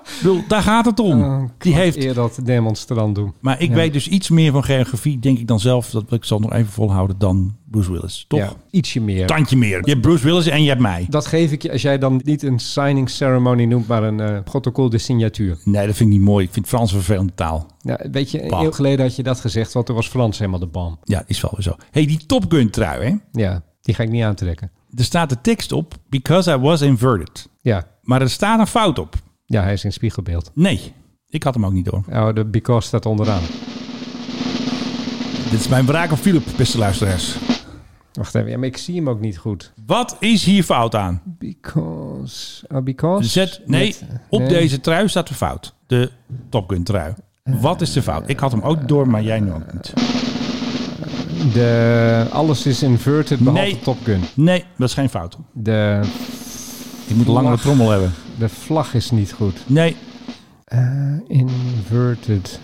[SPEAKER 6] Ik bedoel, daar gaat het om. Die heeft
[SPEAKER 3] Eer dat demonstrant doen.
[SPEAKER 6] Maar ik
[SPEAKER 3] Oh, Ja.
[SPEAKER 6] weet dus iets meer van geografie, denk ik dan zelf. Dat wil ik zal nog even volhouden dan Bruce Willis. Toch?
[SPEAKER 3] Ja, ietsje meer.
[SPEAKER 6] Tandje meer. Je hebt Bruce Willis en je hebt mij.
[SPEAKER 3] Dat geef ik je als jij dan niet een signing ceremony noemt, maar een eh, protocol de signatuur.
[SPEAKER 6] Nee, dat vind ik niet mooi. Ik vind Frans een vervelende taal.
[SPEAKER 3] Ja, weet je, een
[SPEAKER 6] Bah.
[SPEAKER 3] eeuw geleden had je dat gezegd, want toen was Frans helemaal de bam.
[SPEAKER 6] Ja, is wel weer zo. hey, die Top Gun trui, hè?
[SPEAKER 3] Ja, die ga ik niet aantrekken.
[SPEAKER 6] Er staat de tekst op, because I was inverted.
[SPEAKER 3] Ja,
[SPEAKER 6] Maar er staat een fout op.
[SPEAKER 3] ja hij is in spiegelbeeld.
[SPEAKER 6] Nee, ik had hem ook niet door.
[SPEAKER 3] Oh, de because staat onderaan.
[SPEAKER 6] Dit is mijn wraak op Philip, beste luisteraars.
[SPEAKER 3] Wacht even, ja, maar ik zie hem ook niet goed.
[SPEAKER 6] Wat is hier fout aan?
[SPEAKER 3] Because, ah, because?
[SPEAKER 6] Zet, nee,
[SPEAKER 3] Met-
[SPEAKER 6] op
[SPEAKER 3] nee.
[SPEAKER 6] deze trui staat een fout. De Top Gun trui. Wat is de fout? Ik had hem ook door, maar jij nu ook niet.
[SPEAKER 3] De, alles is inverted behalve
[SPEAKER 6] Nee.
[SPEAKER 3] Top Gun.
[SPEAKER 6] Nee, dat is geen fout.
[SPEAKER 3] De,
[SPEAKER 6] Ik moet een langere
[SPEAKER 3] Vlag.
[SPEAKER 6] trommel hebben.
[SPEAKER 3] de vlag is niet goed.
[SPEAKER 6] Nee.
[SPEAKER 3] Eh, inverted.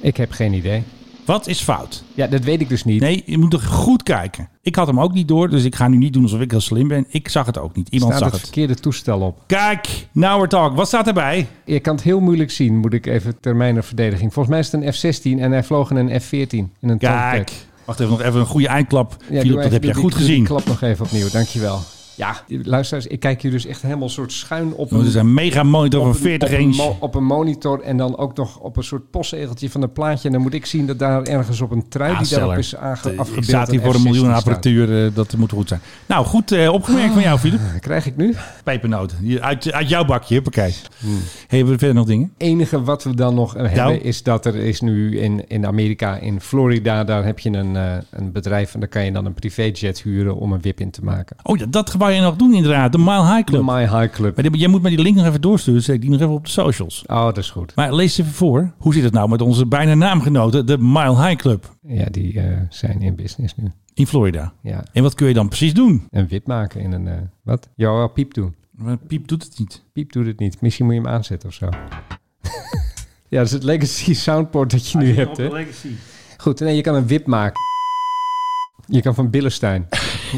[SPEAKER 3] Ik heb geen idee.
[SPEAKER 6] Wat is fout?
[SPEAKER 3] Ja, dat weet ik dus niet.
[SPEAKER 6] Nee, je moet er goed kijken. Ik had hem ook niet door, dus ik ga nu niet doen alsof ik heel slim ben. Ik zag het ook niet. Iemand
[SPEAKER 3] Staat
[SPEAKER 6] zag
[SPEAKER 3] het
[SPEAKER 6] het.
[SPEAKER 3] verkeerde toestel op.
[SPEAKER 6] Kijk, now we're talk. Wat staat erbij?
[SPEAKER 3] Je kan het heel moeilijk zien, moet ik even ter mijner verdediging. Volgens mij is het een F-16 en hij vloog in een F-14. In een
[SPEAKER 6] Kijk.
[SPEAKER 3] tankpack.
[SPEAKER 6] Wacht even, nog even een goede eindklap.
[SPEAKER 3] Ja,
[SPEAKER 6] Philip,
[SPEAKER 3] doe
[SPEAKER 6] dat
[SPEAKER 3] even
[SPEAKER 6] heb
[SPEAKER 3] die-
[SPEAKER 6] jij
[SPEAKER 3] die-
[SPEAKER 6] goed
[SPEAKER 3] doe die
[SPEAKER 6] gezien.
[SPEAKER 3] klap nog even opnieuw, dankjewel. Ja, die- luisteraars, ik kijk hier dus echt helemaal soort schuin op
[SPEAKER 6] Dat is een mega monitor van
[SPEAKER 3] op een-
[SPEAKER 6] 40
[SPEAKER 3] op een,
[SPEAKER 6] inch.
[SPEAKER 3] mo- op een monitor en dan ook nog op een soort postzegeltje van een plaatje. En dan moet ik zien dat daar ergens op een trui die daarop is aange-
[SPEAKER 6] Ik
[SPEAKER 3] afgebeeld.
[SPEAKER 6] staat hier voor een
[SPEAKER 3] F-16
[SPEAKER 6] miljoen
[SPEAKER 3] staat.
[SPEAKER 6] apparatuur. eh, dat moet goed zijn. Nou, goed eh, opgemerkt van jou, Philip.
[SPEAKER 3] Nou, Krijg ik nu?
[SPEAKER 6] Pepernoot. Hier, Uit, uit jouw bakje, huppakee.
[SPEAKER 3] Hmm.
[SPEAKER 6] Hebben we verder nog dingen?
[SPEAKER 3] enige wat we dan nog eh, hebben
[SPEAKER 6] Nou.
[SPEAKER 3] is dat er is nu in, in Amerika, in Florida, daar heb je een, eh, een bedrijf en daar kan je dan een privéjet huren om een wip in te maken.
[SPEAKER 6] Oh ja, dat wou je nog doen inderdaad. De Mile High
[SPEAKER 3] De
[SPEAKER 6] Club.
[SPEAKER 3] My High Club.
[SPEAKER 6] Maar die- jij moet maar die link nog even doorsturen. Zet ik die nog even op de socials.
[SPEAKER 3] Oh, dat is goed.
[SPEAKER 6] Maar lees even voor. Hoe zit het nou met onze bijna naamgenoten, de Mile High Club
[SPEAKER 3] Ja, die eh, zijn in business nu.
[SPEAKER 6] in Florida?
[SPEAKER 3] Ja,
[SPEAKER 6] En wat kun je dan precies doen?
[SPEAKER 3] een wip maken in een... eh, wat? Ja, wel piep doen.
[SPEAKER 6] Maar Piep doet het niet.
[SPEAKER 3] Piep doet het niet. Misschien moet je hem aanzetten of zo. ja, dat is het legacy soundport dat je nu hebt, hè? Goed, nee, je kan een wip maken. Je kan van Billenstein.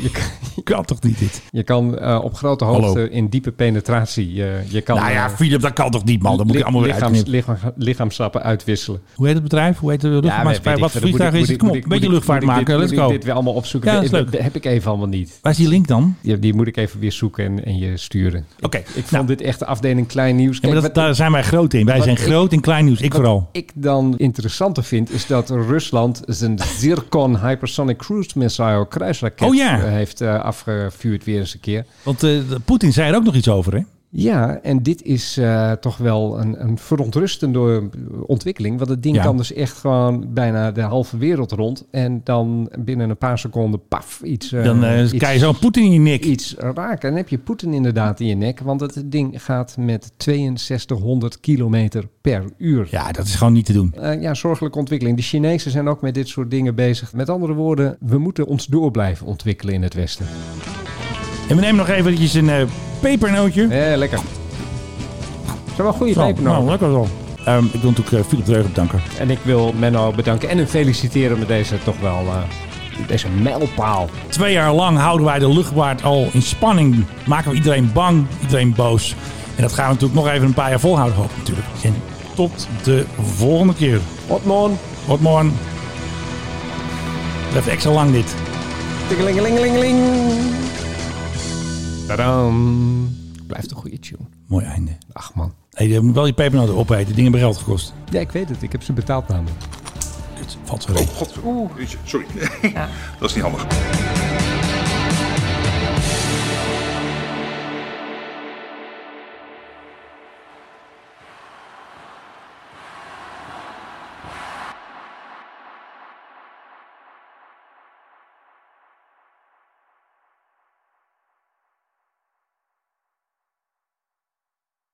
[SPEAKER 3] je kan,
[SPEAKER 6] Kan toch niet dit?
[SPEAKER 3] Je kan eh, op grote hoogte
[SPEAKER 6] Hallo.
[SPEAKER 3] in diepe penetratie. Je, je kan,
[SPEAKER 6] nou ja,
[SPEAKER 3] eh,
[SPEAKER 6] Philip, dat kan toch niet, man? Dat moet
[SPEAKER 3] li-
[SPEAKER 6] ik allemaal weer
[SPEAKER 3] lichaams,
[SPEAKER 6] uitknippen.
[SPEAKER 3] lichaam, lichaamstappen uitwisselen.
[SPEAKER 6] Hoe heet het bedrijf? Hoe heet de luchtvaartmaatschappij? wat voor vliegtuig is het? Kom op, een beetje luchtvaart maken. Let's
[SPEAKER 3] Ik
[SPEAKER 6] go.
[SPEAKER 3] dit weer allemaal opzoeken.
[SPEAKER 6] Ja, dat
[SPEAKER 3] dat
[SPEAKER 6] is leuk.
[SPEAKER 3] heb ik even allemaal niet.
[SPEAKER 6] Waar is die link dan?
[SPEAKER 3] Die, die moet ik even weer zoeken en, en je sturen.
[SPEAKER 6] Oké.
[SPEAKER 3] Ik vond
[SPEAKER 6] nou,
[SPEAKER 3] dit echt de afdeling klein nieuws.
[SPEAKER 6] ja, maar dat,
[SPEAKER 3] Kijk, wat-
[SPEAKER 6] daar zijn wij groot in. Wij
[SPEAKER 3] wat
[SPEAKER 6] zijn
[SPEAKER 3] ik-
[SPEAKER 6] groot in klein nieuws. Ik
[SPEAKER 3] wat
[SPEAKER 6] vooral.
[SPEAKER 3] ik dan interessanter vind, is dat Rusland zijn Zircon Hypersonic Cruise met zijn oude kruisraket
[SPEAKER 6] Oh ja.
[SPEAKER 3] eh, heeft eh, afgevuurd weer eens een keer.
[SPEAKER 6] Want eh, Poetin zei er ook nog iets over, hè?
[SPEAKER 3] Ja, en dit is eh, toch wel een, een verontrustende ontwikkeling. Want het ding
[SPEAKER 6] Ja.
[SPEAKER 3] kan dus echt gewoon bijna de halve wereld rond. En dan binnen een paar seconden, paf, iets... eh,
[SPEAKER 6] Dan eh,
[SPEAKER 3] iets-
[SPEAKER 6] krijg je zo'n Poetin in je nek.
[SPEAKER 3] Iets raken. En dan heb je Poetin inderdaad in je nek. Want het ding gaat met 6200 kilometer per uur.
[SPEAKER 6] Ja, dat is gewoon niet te doen.
[SPEAKER 3] Eh, ja, zorgelijke ontwikkeling. De Chinezen zijn ook met dit soort dingen bezig. Met andere woorden, we moeten ons door blijven ontwikkelen in het Westen.
[SPEAKER 6] En we nemen nog eventjes een eh, pepernootje.
[SPEAKER 3] Eh, lekker. Zijn wel goede
[SPEAKER 6] Zo,
[SPEAKER 3] pepernoten.
[SPEAKER 6] Nou, lekker wel. Ehm, ik wil natuurlijk eh, Philip Dreugen bedanken.
[SPEAKER 3] En ik wil Menno bedanken en hem feliciteren met deze toch wel... eh, deze mijlpaal.
[SPEAKER 6] Twee jaar lang houden wij de luchtvaart al in spanning. Maken we iedereen bang, iedereen boos. En dat gaan we natuurlijk nog even een paar jaar volhouden, hoop ik natuurlijk. En tot de volgende keer.
[SPEAKER 3] Wat morgen.
[SPEAKER 6] Tot morgen. Even extra lang dit.
[SPEAKER 3] Tikkelingelingelingeling. Tadam. Blijft een goede tune.
[SPEAKER 6] Mooi einde.
[SPEAKER 3] Ach man.
[SPEAKER 6] Hey, je moet wel je pepernoten opeten. Die dingen hebben geld gekost.
[SPEAKER 3] Ja, ik weet het. Ik heb ze betaald namelijk.
[SPEAKER 6] Kut, valt weer op.
[SPEAKER 5] God, Oeh. Sorry. Dat is niet handig.